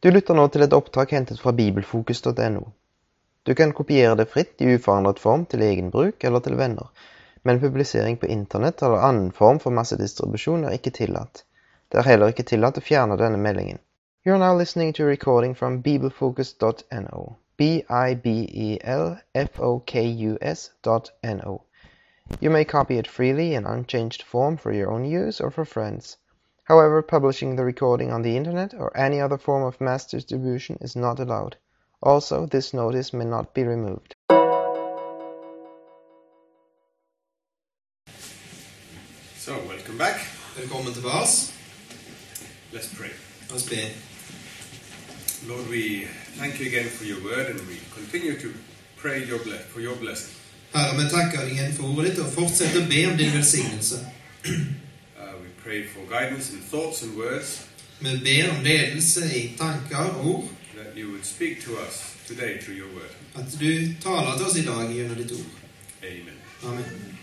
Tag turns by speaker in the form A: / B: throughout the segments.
A: Du lytter nå til et opptak hentet fra bibelfokus.no. Du kan kopiere det fritt i uforandret form til egen bruk eller til venner, men publisering på internett eller annen form for massedistribusjon er ikke tillatt. Det er heller ikke tillatt å fjerne denne meldingen. You are now listening to a recording from bibelfocus.no. E B-I-B-E-L-F-O-K-U-S dot N-O. You may copy it freely in unchanged form for your own use or for friends. However, publishing the recording on the internet or any other form of mass distribution is not allowed. Also, this notice may not be removed.
B: So, welcome back.
C: Velkommen tilbake. oss.
B: Let's pray.
C: La oss be.
B: Lord, we thank you again for your word and we continue to pray your ble- for your blessing.
C: Herre, vi takker deg igjen for ordet ditt, og fortsett å be om din velsignelse.
B: Uh, we pray for guidance in thoughts and words
C: Vi ber om ledelse i tanker og ord,
B: that you would speak to us today through your word.
C: at du taler til oss i dag gjennom ditt ord.
B: Amen.
C: Amen.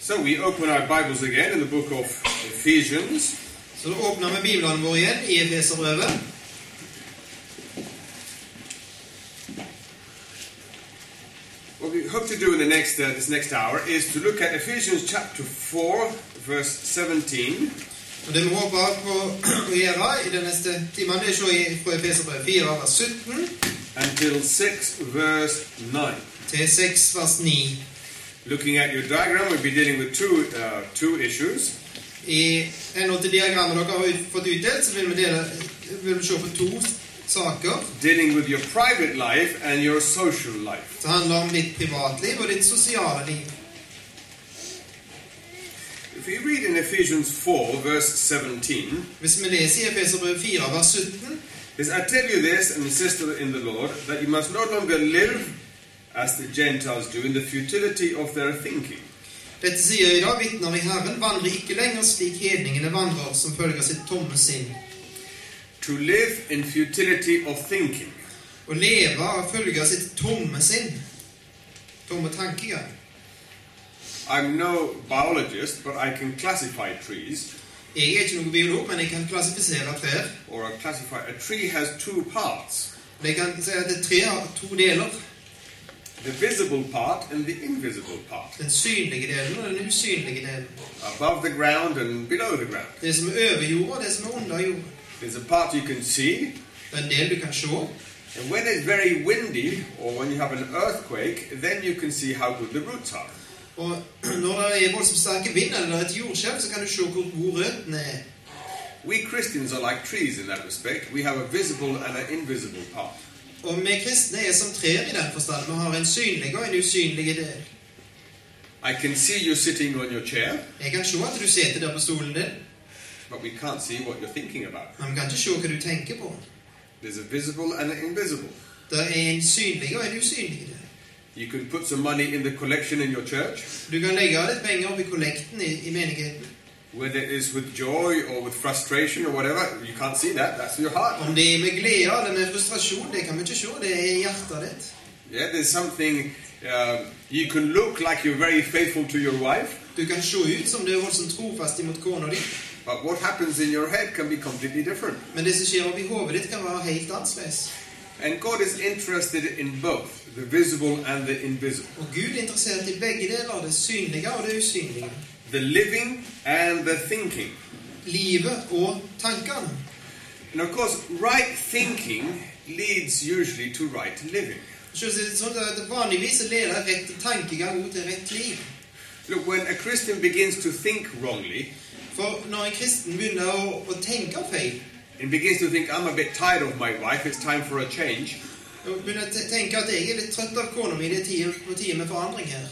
B: So, we open our Bibles again in the book of Ephesians
C: Så da åpner vi Bibelen vår igjen i Efeserbrevet,
B: What we hope to do in the next uh, this next hour is to look at Ephesians chapter 4 verse 17
C: og det vi håper på å gjøre i den neste timen, det er å se i- fra Efeserbrevet 4, vers 17,
B: until 6 verse 9.
C: til 6, vers 9.
B: Looking at your diagram, we'll be dealing with two uh, two issues.
C: I henhold til diagrammet dere har ut- fått utdelt, så vil vi, dele, vil vi se på to saker.
B: Dealing with your private life and your social life.
C: Det handler om ditt privatliv og ditt sosiale liv.
B: If you read in Ephesians 4 verse 17,
C: Hvis vi leser i Efeserbrevet 4, vers 17,
B: it says, I tell you this and insist in the Lord that you must no longer live as the Gentiles do in the futility of their thinking.
C: dette sier jeg da, vitner i Herren, vandrer ikke lenger slik hedningene vandrer, som følger sitt tomme sinn.
B: To live in futility of thinking.
C: Å leve og følge sitt tomme sinn. Tomme tankegang.
B: I'm no biologist, but I can classify trees,
C: Jeg er ikke noen biolog, men jeg kan klassifisere trær.
B: or I classify a tree has two parts:
C: Og Jeg kan si at et tre har to deler.
B: the visible part and the invisible part,
C: Den synlige delen og den usynlige delen.
B: above the ground and below the ground.
C: Det som er over jorda, og det som er under jorda.
B: There's a part you can see,
C: Det er en del du kan se.
B: and when it's very windy or when you have an earthquake, then you can see how good the roots are.
C: Og når det er voldsomt sterke vind eller et jordskjelv, så kan du se hvor gode røttene er.
B: We Christians are like trees in that respect. We have a visible and an invisible part.
C: Og vi kristne er som trær i den forstand. Vi har en synlig og en usynlig del.
B: I can see you sitting on your chair,
C: Jeg kan se at du sitter der på stolen din,
B: but we can't see what you're thinking about.
C: men vi kan ikke se hva du tenker på.
B: There's a visible and an invisible.
C: Det er en synlig og en usynlig del.
B: You can put some money in the collection in your church,
C: Du kan legge litt penger opp i kollekten i, i menigheten.
B: whether it is with joy or with frustration or whatever. You can't see that. That's your heart.
C: Om det er med glede eller med frustrasjon, det kan vi ikke se. Det er i hjertet ditt.
B: Yeah, there's something. Um, you can look like you're very faithful to your wife,
C: Du kan se ut som du er voldsomt trofast imot kona di,
B: but what happens in your head can be completely different.
C: men det som skjer oppi hodet ditt, kan være helt annerledes.
B: And God is interested in both the visible and the invisible,
C: Og Gud er interessert i begge deler, det synlige og det usynlige.
B: the living and the thinking.
C: Livet og tankene.
B: And of course, right thinking leads usually to right living.
C: Selv er det sånn at Vanligvis så leder rett tankegang ut til rett liv.
B: Look, when a Christian begins to think wrongly,
C: For når en kristen begynner å, å tenke feil,
B: and begins to think, I'm a bit tired of my wife, it's time for a change,
C: og begynner å te- tenke at jeg er litt trøtt av kona mi, det er tid- på tide med forandring her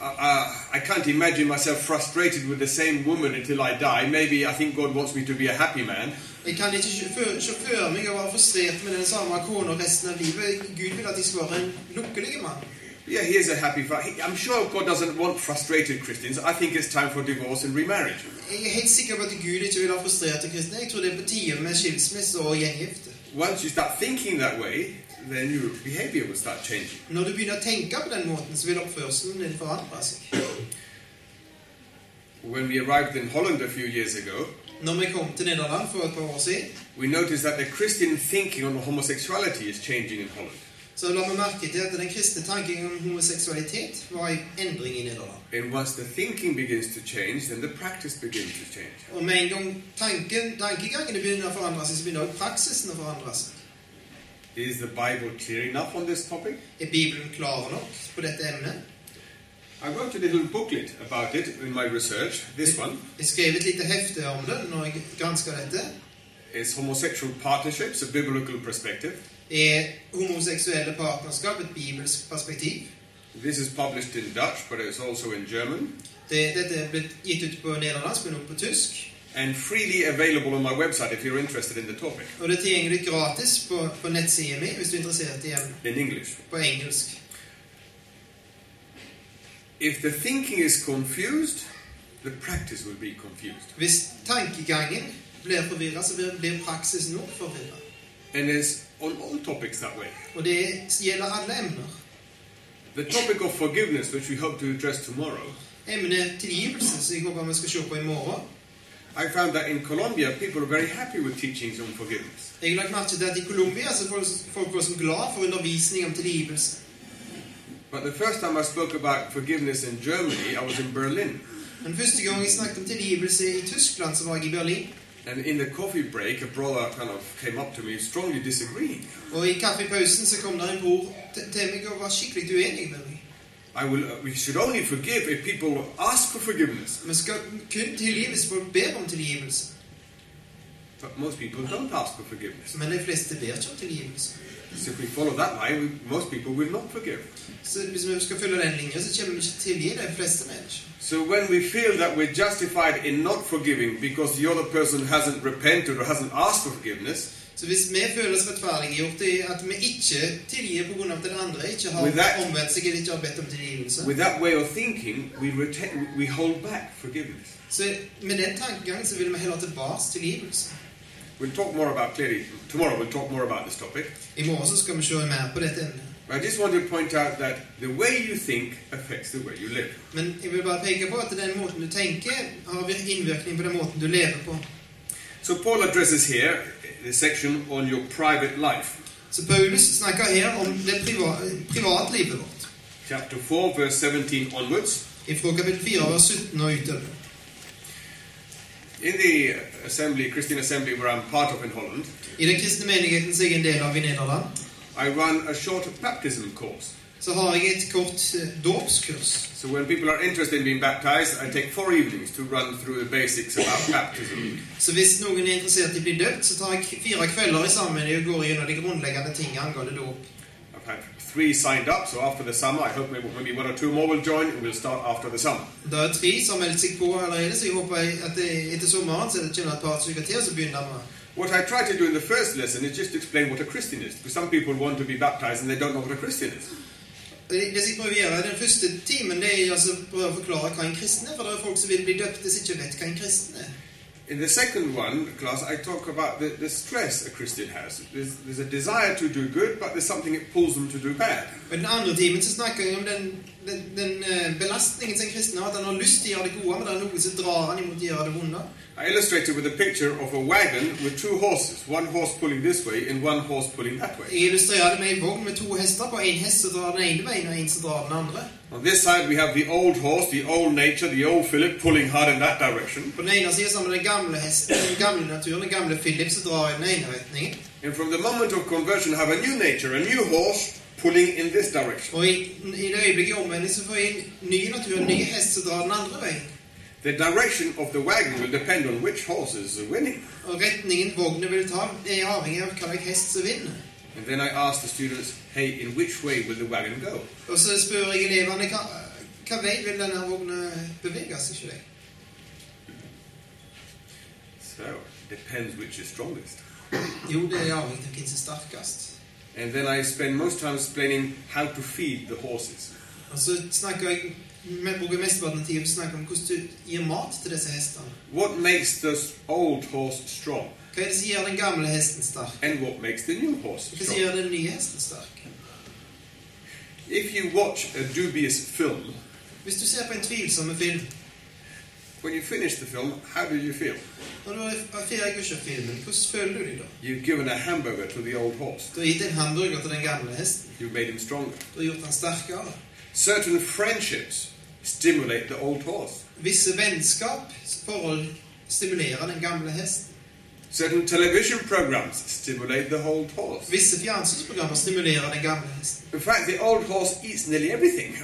B: uh, uh, I can't imagine myself frustrated with the same woman until I die. Maybe I think God wants me to be a happy man.
C: Jeg kan ikke se før- se for meg å være frustrert med den samme kona resten av livet. Gud vil at jeg skal være en lykkelig mann.
B: Yeah, he is a happy. fa- he- I'm sure God doesn't want frustrated Christians. I think it's time for divorce and remarriage.
C: Jeg er helt sikker på at Gud ikke vil ha frustrerte kristne. Jeg tror det er på tide med skilsmisse og gjengifte.
B: Once you start thinking that way, then your behavior will start changing.
C: Når du begynner å tenke på den måten, så vil oppførselen din forandre seg.
B: When we arrived in Holland a few years ago,
C: Når vi kom til Nederland for et par år siden,
B: we noticed that the Christian thinking on homosexuality is changing in Holland.
C: så la vi merke til at den kristne tanken om homoseksualitet var i endring i Nederland.
B: And once the thinking begins to change, then the practice begins to change.
C: Og med en gang tanken, tankegangene begynner å forandre seg, så begynner også praksisen å forandre seg.
B: Is the Bible clear enough on this topic?
C: Er Bibelen klar nok på dette emnet?
B: I wrote a little booklet about it in my research. This one
C: Jeg skrev et lite hefte om det når jeg gransker dette.
B: is Homosexual Partnerships, a Biblical Perspective.
C: Er homoseksuelle partnerskap et bibelsk perspektiv?
B: This is published in Dutch, but it's also in German,
C: Det, dette er blitt gitt ut på nederlandsk, men også på tysk.
B: and freely available on my website if you're interested in the topic,
C: Og det er tilgjengelig gratis på, på nettsiden min hvis du er interessert i emnet.
B: in English.
C: På engelsk.
B: If the thinking is confused, the practice will be confused.
C: Hvis tankegangen blir forvirra, så blir, blir praksis nå forvirra.
B: And it's on all topics that way.
C: Og det gjelder alle emner.
B: The topic of forgiveness, which we hope to address tomorrow,
C: Emnet tilgivelse, som jeg håper vi skal se på i morgen
B: I found that in Colombia people are very happy with teachings on forgiveness.
C: Jeg har lagt merke til at i Colombia så er folk, folk var så glad for undervisning om tilgivelse.
B: But the first time I spoke about forgiveness in Germany, I was in Berlin.
C: Men første gang jeg snakket om tilgivelse i Tyskland, så var jeg i Berlin.
B: And in the coffee break, a brother kind of came up to me strongly disagreeing.
C: Og i kaffepausen så kom der en bror til til meg og var skikkelig uenig med meg.
B: I will, uh, we should only forgive if people ask for forgiveness.
C: Vi skal kun tilgi hvis folk ber om tilgivelse.
B: But most people don't ask for forgiveness.
C: Men de fleste ber ikke om tilgivelse.
B: So if we follow that line, we, most people will not forgive.
C: Så hvis vi skal følge den linja, så kommer vi ikke til å tilgi de fleste mennesker.
B: So when we feel that we're justified in not forgiving because the other person hasn't repented or hasn't asked for forgiveness,
C: Så hvis vi føler oss rettferdiggjort i at vi ikke tilgir pga. at den andre ikke har
B: With that-
C: omvendt seg eller ikke har bedt om tilgivelse,
B: with that way of thinking, we, retain, we hold back forgiveness.
C: så med den tankegangen så vil vi heller tilbake tilgivelse.
B: We'll talk more about clearly tomorrow. We'll talk more about this topic.
C: I morgen så skal vi se mer på dette emnet.
B: But I just want to point out that the way you think affects the way you live.
C: Men jeg vil bare peke på at den måten du tenker, har vir- innvirkning på den måten du lever på.
B: So Paul addresses here the section on your private life,
C: Så Paulus snakker her om det priva privatlivet vårt.
B: chapter four, verse seventeen onwards.
C: Fra kapittel 4, vers 17 og utover.
B: In the assembly, Christian assembly, where I'm part of in Holland,
C: I den kristne menigheten som jeg er en del av i Nederland,
B: I run a short baptism course.
C: så har jeg et kort eh, dåpskurs.
B: So when people are interested in being baptized, I take four evenings to run through the basics about baptism.
C: Så hvis noen er interessert i å bli døpt, så tar jeg k- fire kvelder i sammen og går gjennom de grunnleggende tingene angående dåp.
B: I've had three signed up, so after the summer, I hope maybe, maybe one or two more will join, and we'll start after the summer.
C: Da er det tre som har meldt seg på allerede, så jeg håper jeg at det, etter sommeren så er det kommer et par stykker til, og så begynner vi.
B: What I try to do in the first lesson is just to explain what a Christian is, because some people want to be baptized and they don't know what a Christian is.
C: Det det som jeg prøver å gjøre i den første timen, det er altså å prøve å forklare hva en kristen er. For det er folk som vil bli døpte, som ikke vet hva en kristen er.
B: In the second one class, I talk about the, the stress a Christian has. There's, there's a desire to do good, but there's something that pulls them to do bad.
C: Og I den andre timen så snakker jeg om den, den, den eh, belastningen som en kristen har. At han har lyst til å gjøre det gode, men det er noe som drar han imot å gjøre det vonde.
B: I illustrated with a picture of a wagon with two horses, one horse pulling this way and one horse pulling that way.
C: Jeg illustrerer det med en vogn med to hester. På en hest som drar den ene veien, og en som drar den andre.
B: On this side, we have the old horse, the old nature, the old Philip pulling hard in that direction.
C: På den ene siden så har vi den gamle hesten, den gamle naturen, den gamle Philip som drar i den ene retningen.
B: And from the moment of conversion, have a new nature, a new horse pulling in this direction.
C: Og i, i det øyeblikket i omvending så får jeg en ny natur, en ny hest som drar den andre veien.
B: The direction of the wagon will depend on which horses are winning.
C: Og retningen vognen vil ta, er avhengig av hvilken hest som vinner.
B: And then I asked the students, hey, in which way will the wagon go?
C: Og så spør jeg elevene hva, hva vei vil denne vognen bevege seg. ikke det?
B: So, depends which is strongest.
C: Jo, det er avhengig av hvem som er sterkest.
B: And then I spend most time explaining how to feed the horses.
C: Og så snakker jeg vi bruker mesteparten av tiden på å snakke om hvordan du gir mat til disse hestene.
B: What makes this old horse strong?
C: Hva er det som gjør den gamle hesten sterk?
B: And what makes the new horse
C: Hva er det som
B: strong?
C: gjør den nye hesten sterk?
B: If you watch a dubious film,
C: Hvis du ser på en tvilsom film,
B: When you finish the film, how do you feel?
C: Når du har ferdiggjort filmen, hvordan føler du deg da?
B: You've given a hamburger to the old horse.
C: Du har gitt en hamburger til den gamle hesten.
B: You've made him stronger.
C: Du har gjort han sterkere.
B: Certain friendships stimulate the old horse.
C: Visse vennskapsforhold stimulerer den gamle hesten.
B: Certain television programs stimulate the old horse.
C: Visse fjernsynsprogrammer stimulerer den gamle hesten.
B: In fact, the old horse eats nearly everything.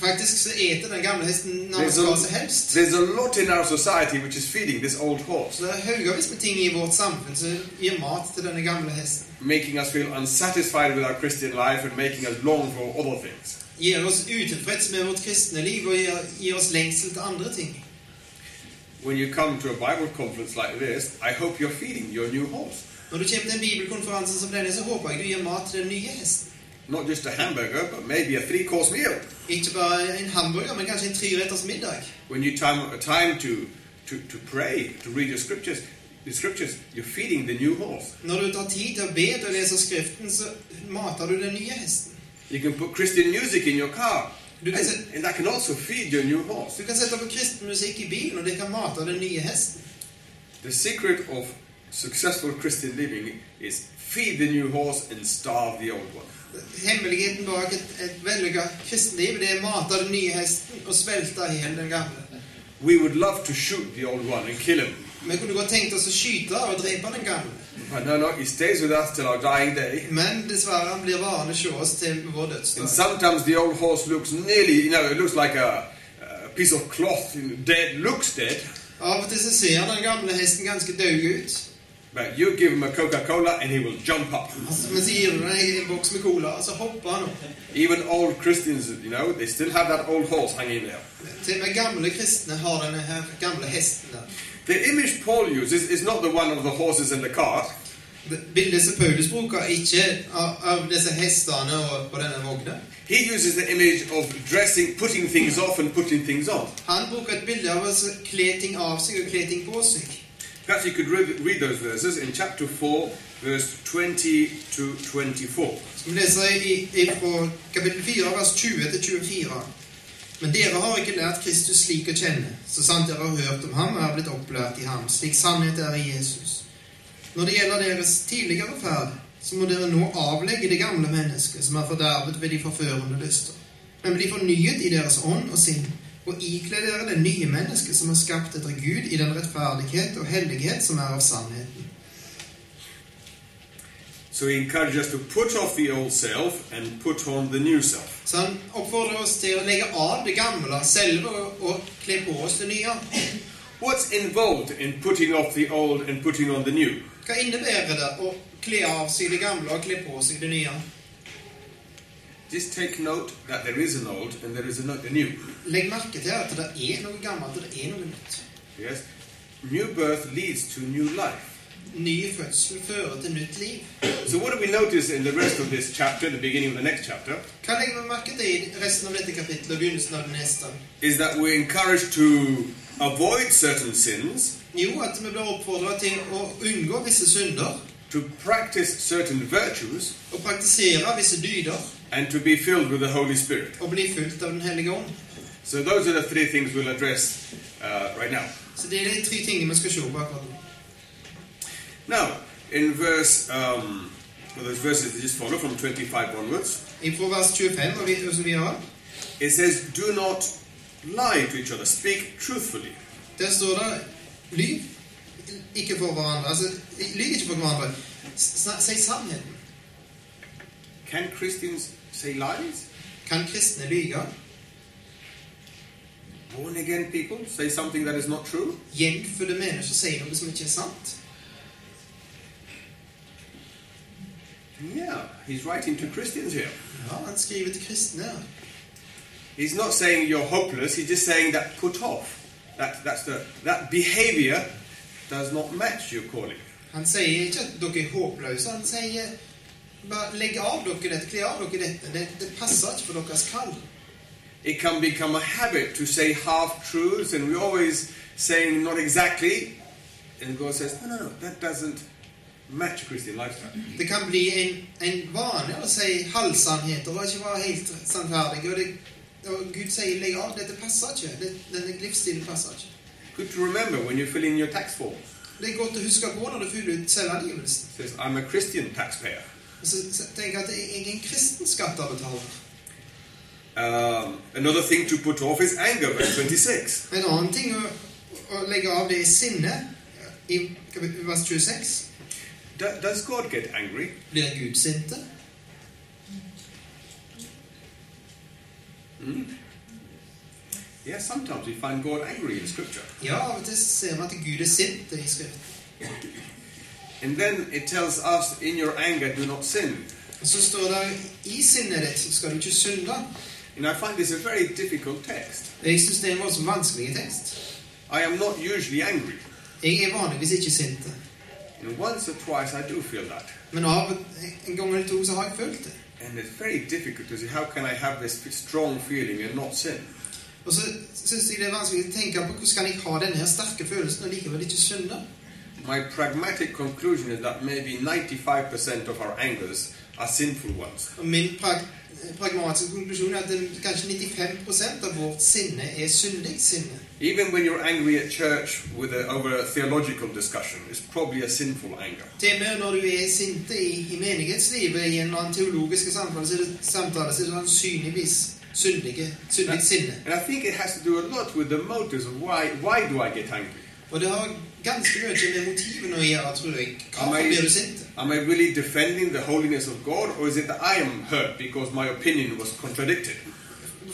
C: Faktisk så eter den gamle hesten
B: There's
C: nærmest hva som helst.
B: a, there's a lot in our society which is feeding this old horse,
C: Så det er haugavis med ting i vårt samfunn som gir mat til denne gamle hesten.
B: making us feel unsatisfied with our Christian life and making us long for other things.
C: Gir oss utilfreds med vårt kristne liv og gir, gir oss lengsel til andre ting.
B: When you come to a Bible conference like this, I hope you're feeding your new horse.
C: Når du kommer til en bibelkonferanse som denne, så håper jeg du gir mat til den nye hesten.
B: Not just a hamburger, but maybe a three course meal.
C: Ikke bare en hamburger, men kanskje en treretters middag.
B: When you time, time to, to, to pray, to read your scriptures, the scriptures, you're feeding the new horse.
C: Når du tar tid til å be til å lese Skriften, så mater du den nye hesten.
B: You can put Christian music in your car,
C: Du kan, se,
B: and, and that can also feed your new horse.
C: du kan sette på kristen musikk i bilen, og det kan mate den nye hesten.
B: The secret of successful Christian living is feed the new horse and starve the old one.
C: Hemmeligheten bak et, et vellykka kristenliv det er å mate den nye hesten og svelte i hjel den gamle.
B: We would love to shoot the old one and kill him.
C: Vi kunne godt tenkt oss å skyte og drepe den gamle,
B: But no, no, he stays with us till our dying day.
C: men dessverre han blir varende hos oss til vår
B: And
C: dødsdag.
B: sometimes the old horse looks nearly, you know, it looks like a, a piece of cloth, you know, dead, looks dead.
C: Av og til så ser den gamle hesten ganske død ut.
B: But you give him a Coca Cola and he will jump up.
C: Altså, men så gir du deg en boks med cola, og så hopper han opp.
B: Even old Christians, you know, they still have that old horse hanging there.
C: Til og med gamle kristne har denne her gamle hesten der.
B: The image Paul uses is not the one of the horses and the cart.
C: Det Bildet som Paulus bruker, er ikke av, av disse hestene og på denne vogna.
B: He uses the image of dressing, putting things off and putting things on.
C: Han bruker et bilde av å altså, kle ting av seg og kle ting på seg.
B: Perhaps you could read, read those verses in chapter 4, verse 20 to 24.
C: Som vi leser i, i, fra kapittel 4, vers 20 til 24. Men dere har ikke lært Kristus slik å kjenne, så sant dere har hørt om ham og er blitt opplært i ham, slik sannhet er i Jesus. Når det gjelder deres tidligere ferd, så må dere nå avlegge det gamle mennesket, som er fordervet ved de forførende lyster, men bli fornyet i deres ånd og sinn, og ikle dere det nye mennesket som er skapt etter Gud i den rettferdighet og hellighet som er av sannheten.
B: So he encourages us to put off the old self and put on the new self.
C: Så han oppfordrer oss til å legge av det gamle selve og, og kle på oss det nye.
B: What's involved in putting off the old and putting on the new?
C: Hva innebærer det å kle av seg det gamle og kle på seg det nye?
B: Just take note that there is an old and there is a, no- a new.
C: Legg merke til at det er noe gammelt og det er noe nytt.
B: Yes? New birth leads to new life.
C: Ny fødsel fører til nytt liv.
B: So, what do we notice in the rest of this chapter, the beginning of the next chapter,
C: Hva legger vi merke til i resten av dette kapittelet og begynnelsen av det neste?
B: is that we're encouraged to avoid certain sins
C: Jo, at vi blir oppfordra til å unngå visse synder
B: to practice certain virtues
C: og praktisere visse dyder
B: and to be filled with the Holy Spirit.
C: og bli fulgt av Den hellige ånd.
B: So those are the three things we'll address uh, right now.
C: Så det er de tre tingene vi skal se på akkurat nå.
B: Now, in verse, um, well, those verses that just follow from 25 onwards,
C: Fra vers 25 og vid- og så videre.
B: it says, "Do not lie to each other. Speak truthfully."
C: Der står det lyv ikke for hverandre. Altså, lyv ikke for hverandre. S- sna- Si sannheten.
B: Can Christians say lies?
C: Kan kristne lyge?
B: Born again people say something that is not true?
C: Gjenfødte mennesker sier noe som ikke er sant?
B: Yeah, he's writing to Christians here.
C: Ja, han skriver til kristne. her.
B: He's not saying you're hopeless. He's just saying that put off. That that's the that behaviour does not match your calling.
C: Han sier ikke at dere er håpløse. Han sier bare legg av dere dette, kle av dere dette. Det, det passer ikke for deres kall.
B: It can become a habit to say half truths, and we're always saying not exactly. And God says, no, no, no, that doesn't match a Christian lifestyle.
C: Det kan bli en, en vane å si halvsannheter og ikke være helt sannferdig. Og, det, og Gud sier legg av, dette passer ikke. Det, denne livsstilen passer ikke.
B: Good to remember when you fill in your tax form.
C: Det er godt å huske på når du fyller ut selvangivelsen.
B: It says, I'm a Christian taxpayer.
C: Og så så tenk at jeg er en kristen skatteavbetaler.
B: Um, another thing to put off is anger, verse 26.
C: En annen ting å, å legge av det er sinne. I kapittel vers 26
B: Do, does God get angry?
C: blir Gud sinte.
B: Yes, sometimes we find God angry in Scripture.
C: Ja, av og til ser vi at Gud er sint i Skriften.
B: And then it tells us, in your anger, do not sin.
C: Og så står det i sinnet ditt så skal du ikke synde.
B: And I find this a very difficult text.
C: Jeg syns det er en voldsomt vanskelig tekst.
B: I am not usually angry.
C: Jeg er vanligvis ikke sint.
B: And once or twice I do feel that.
C: Men av en gang eller to så har jeg følt det.
B: And it's very difficult to see how can I have this strong feeling and not sin.
C: Og så syns jeg det er vanskelig å tenke på hvordan kan jeg ha denne her sterke følelsen og likevel ikke synde.
B: My pragmatic conclusion is that maybe 95% of our angers are sinful ones.
C: Og min prag pragmatiske konklusjon er at det, kanskje 95 av vårt sinne er syndig sinne.
B: Even when you're angry at church with a, over a theological discussion, it's probably a sinful anger.
C: Til og med når du er sinte i, i menighetslivet, i en eller annen teologisk samtale, så er det, samtale, så er det sannsynligvis syndige, syndig sinne.
B: And I think it has to do a lot with the motives of why, why do I get angry?
C: Og det har ganske mye med motivene å gjøre, tror jeg.
B: Am
C: Hvorfor
B: I,
C: blir du sint?
B: am I really defending the holiness of God, or is it that I am hurt because my opinion was contradicted?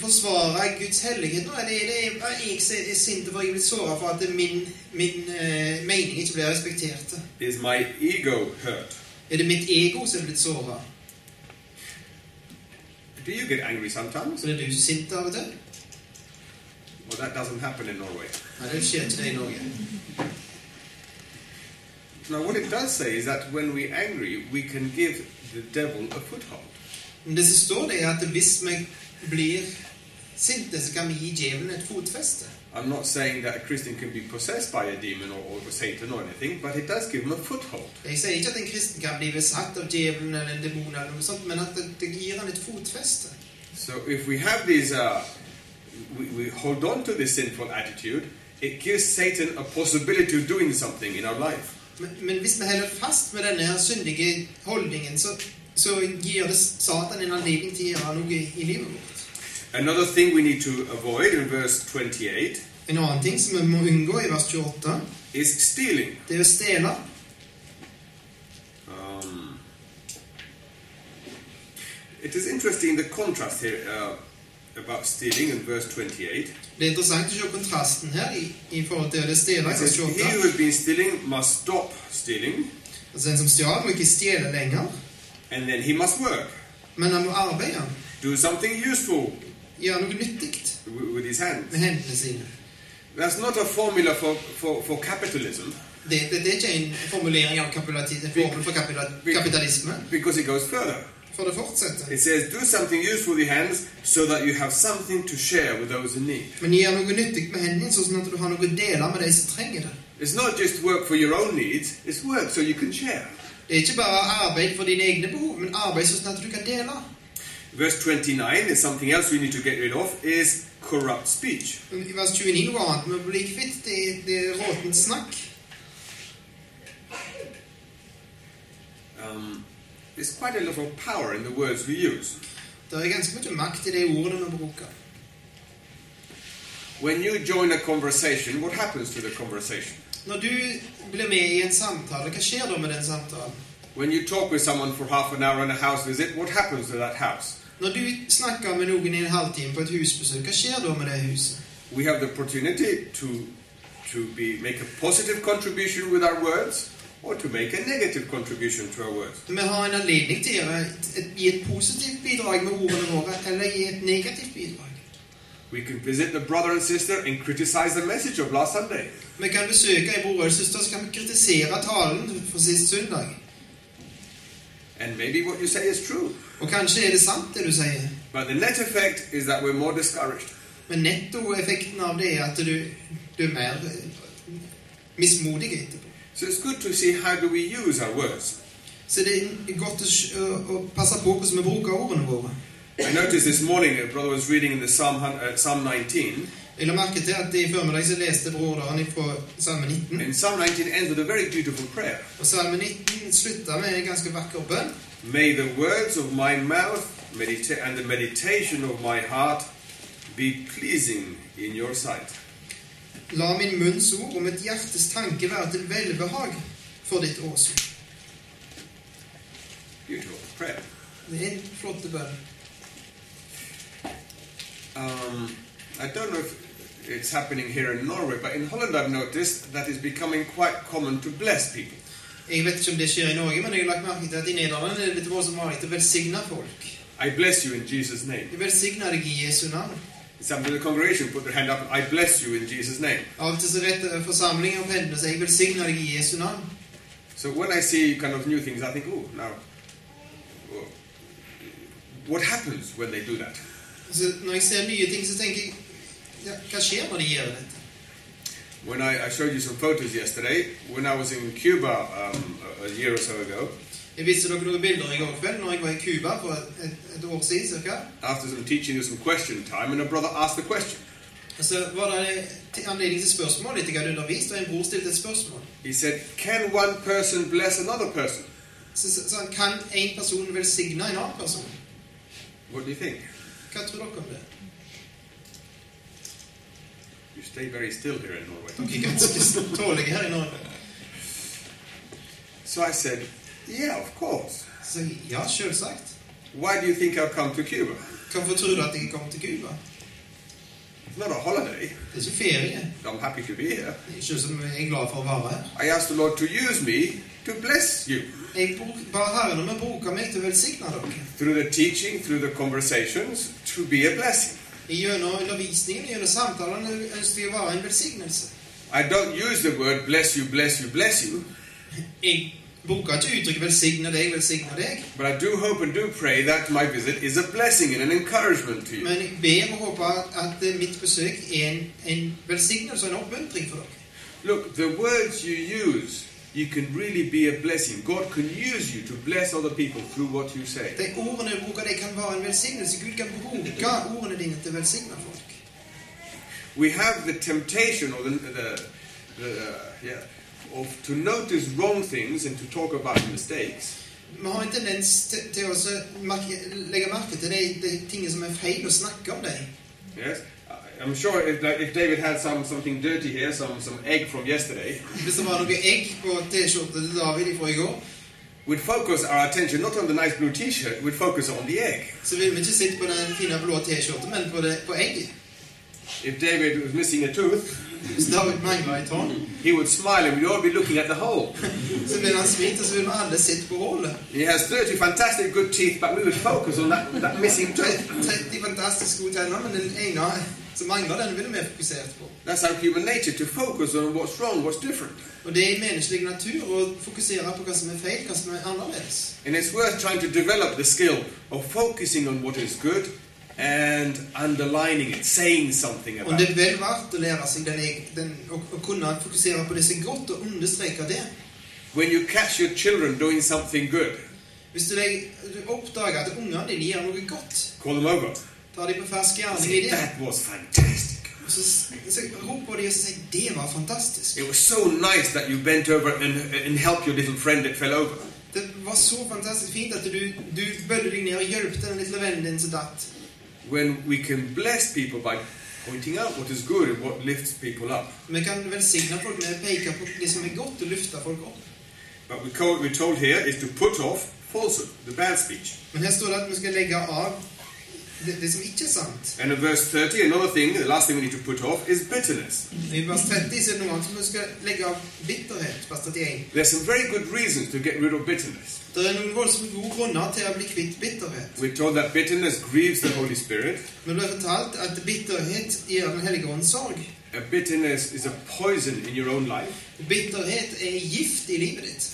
C: Forsvarer jeg Guds hellighet nå? Eller er det er jeg som er sint for jeg blir såra for at min, min eh, mening ikke blir respektert?
B: Is my ego hurt?
C: Er det mitt ego som er blitt såra?
B: Do you get angry sometimes?
C: Så er du sint av og til?
B: Well, that doesn't happen in Norway.
C: Nei, det skjer ikke det i Norge.
B: Now, what it does say is that when we're angry, we can give the devil a foothold.
C: Men det som står, det er at hvis vi blir sinte, så kan vi gi djevelen et fotfeste.
B: I'm not saying that a Christian can be possessed by a demon or, or Satan or anything, but it does give him a foothold.
C: Jeg sier ikke at en kristen kan bli besatt av djevelen eller en demon, eller noe sånt, men at det, det gir han et fotfeste.
B: So if we have these, uh, we, we hold on to this sinful attitude, it gives Satan a possibility of doing something in our life.
C: Men, men hvis vi holder fast med denne her syndige holdningen, så, så gir det Satan en anledning til å gjøre noe i livet vårt.
B: Another thing we need to avoid in verse 28
C: En annen ting som vi må unngå i vers 28,
B: is stealing.
C: det er å stjele.
B: Um, it is interesting the contrast here uh, about stealing in verse 28.
C: Det er interessant å se kontrasten her i, i forhold til det å stjele
B: It
C: i
B: says,
C: vers
B: He
C: 28.
B: who has been stealing must stop stealing,
C: Altså, den som stjal, må ikke stjele lenger,
B: and then he must work.
C: men han må arbeide.
B: Do something useful
C: Gjøre noe nyttig
B: wi- with his hands.
C: med hendene sine.
B: That's not a formula for, for, for capitalism
C: Det, det, det er ikke en formulering av kapitalisme, en formel for kapitala- kapitalisme.
B: because it goes further.
C: For det fortsetter.
B: It says, Do something useful with your hands so that you have something to share with those in need.
C: Men gjør noe nyttig med hendene, sånn at du har noe å dele med de som trenger det.
B: It's not just work for your own needs, it's work so you can share.
C: Det er ikke bare arbeid for dine egne behov, men arbeid sånn at du kan dele.
B: Verse 29 is something else we need to get rid of is corrupt speech.
C: Men I vers 29 noe annet med å bli kvitt, det, er- det er råtent snakk.
B: Um, there's quite a lot of power in the words we use.
C: Det er ganske mye makt i de ordene vi bruker.
B: When you join a conversation, what happens to the conversation?
C: Når du blir med i en samtale, hva skjer da med den samtalen?
B: When you talk with someone for half an hour on a house visit, what happens to that house?
C: Når du snakker med noen i en halvtime på et husbesøk, hva skjer da med det huset?
B: We have the opportunity to to be make a positive contribution with our words or to make a negative contribution to our words.
C: Vi har en anledning til å gjøre et, et, gi et positivt bidrag med ordene våre, eller gi et negativt bidrag.
B: We can visit the brother and sister and criticize the message of last Sunday.
C: Vi kan besøke en bror eller søster, så kan vi kritisere talen fra sist søndag.
B: And maybe what you say is true.
C: Og kanskje er det sant, det du sier,
B: But the net effect is that we're more discouraged.
C: men nettoeffekten av det er at du, du er mer eh, mismodig etterpå.
B: So it's good to see how do we use our words.
C: Så det er godt å, s- å, å passe på hvordan vi bruker ordene våre.
B: I noticed this morning a brother was reading in the Psalm, hun- uh, Psalm 19,
C: Jeg Jeg la merke til at i formiddag så leste broderen fra Salme 19.
B: And Psalm 19 ends with a very beautiful prayer.
C: Og Salme 19 slutta med en ganske vakker bønn.
B: May the words of my mouth medita- and the meditation of my heart be pleasing in your sight.
C: La min munns ord og mitt hjertes tanke være til velbehag for ditt åsyn.
B: Beautiful prayer.
C: Det er en flott bønn.
B: Um, I don't know if it's happening here in Norway, but in Holland I've noticed that it's becoming quite common to bless people.
C: Jeg vet ikke om det skjer i Norge, men jeg har lagt merke til at i Nederland er det blitt voldsomt vanlig å velsigne folk.
B: I bless you in Jesus' name.
C: Jeg velsigner deg i Jesu navn.
B: Some of the congregation put their hand up. I bless you in Jesus' name.
C: Av og til så retter forsamlinger og pendlere seg 'Jeg velsigner deg i Jesu navn'.
B: So when I see kind of new things, I think, oh, now, oh, what happens when they do that?
C: Så når jeg ser nye ting, så tenker jeg ja, Hva skjer når de gjør dette?
B: When I, I showed you some photos yesterday, when I was in Cuba um, a, a year or so ago,
C: Jeg viste dere noen bilder i går kveld når jeg var i Cuba for et, et år siden cirka.
B: after some teaching, there was some question time, and a brother asked the question.
C: Og Så Altså, var det en anledning til spørsmål etter jeg hadde undervist, og en bror stilte et spørsmål.
B: He said, Can one person bless another person?
C: Så så- sa han Kan en person velsigne en annen person?
B: What do you think?
C: Hva tror dere om det?
B: You stay very still here in Norway.
C: Dere er ganske tålige her i Norge.
B: So I said, Yeah, of course.
C: Så sa jeg ja, selvsagt.
B: Why do you think I've come to Cuba?
C: Hvorfor tror du at jeg kom til Cuba?
B: It's not a holiday.
C: Det er ikke ferie.
B: I'm happy to be here.
C: Selvsagt er jeg glad for å være her.
B: I asked the Lord to use me to bless you
C: Jeg bruk- ba Herren om å bruke meg til å velsigne dere.
B: through the teaching, through the conversations, to be a blessing.
C: Gjennom undervisningen, gjennom samtalene, ønsker jeg å være en velsignelse.
B: I don't use the word bless you, bless you, bless you,
C: Jeg bruker ikke uttrykket 'velsigne deg, velsigne deg',
B: but I do hope and do pray that my visit is a blessing and an encouragement to you.
C: men jeg ber og håper at eh, mitt besøk er en, en velsignelse og en oppmuntring for dere.
B: Look, the words you use, you can really be a blessing. God can use you to bless other people through what you say.
C: De ordene du bruker, de kan være en velsignelse. Gud kan bruke ordene dine til å velsigne folk.
B: we have the temptation or the, the, the uh, yeah, of to notice wrong things and to talk about mistakes.
C: Vi har en tendens til, til å så merke, legge merke til de, de tingene som er feil, og snakke om dem.
B: Yes, I- I'm sure if, like, if David had some something dirty here, some some egg from yesterday,
C: Hvis det var noe egg på T-skjorta til David fra i går,
B: we'd focus our attention not on the nice blue T-shirt. We'd focus on the egg.
C: så ville vi ikke sett på den fine blå T-skjorta, men på, det, på egget.
B: If David was missing a tooth,
C: Hvis David mangla en tårn,
B: he would smile and we'd all be looking at the hole.
C: så ville han smilt, og så ville vi alle sett på hullet.
B: He has 30 fantastic good teeth, but we would focus on that, that missing tooth.
C: 30 fantastisk gode tenner, men den ene som mangler, den ville vi fokusert på.
B: That's our human nature to focus on what's wrong, what's different.
C: Og det er i menneskelig natur å fokusere på hva som er feil, hva som er annerledes.
B: And it's worth trying to develop the skill of focusing on what is good and underlining it, saying something
C: Og
B: about
C: det er
B: it.
C: vel verdt å lære seg den, eg- den, å, å kunne fokusere på det som er godt, og understreke det.
B: When you catch your children doing something good,
C: Hvis du, legger, du oppdager at ungene dine gjør noe godt,
B: call them over.
C: tar de på fersk gjerning i
B: Say,
C: det,
B: that was fantastic.
C: og så, så roper de og så sier 'Det var fantastisk'.
B: It was so nice that you bent over and, and helped your little friend that fell over.
C: Det var så fantastisk fint at du, du bødde deg ned og hjalp den lille vennen din som datt.
B: When we can bless people by pointing out what is good and what lifts people up.
C: Vi kan velsigne folk med å peke på det som er godt, og løfte folk opp.
B: But we co- we're told here is to put off falsehood, the bad speech.
C: Men her står det at vi skal legge av det, det som ikke er sant.
B: And in verse 30, another thing, the last thing we need to put off is bitterness.
C: I vers 30 så er det noe annet som vi skal legge av bitterhet. vers 31.
B: There's some very good reasons to get rid of bitterness.
C: Det er noen voldsomt gode grunner til å bli kvitt bitterhet.
B: We're told that bitterness grieves the Holy Spirit.
C: Men det er fortalt at bitterhet gjør Den hellige ånds sorg.
B: A bitterness is a poison in your own life.
C: Bitterhet er gift i livet ditt.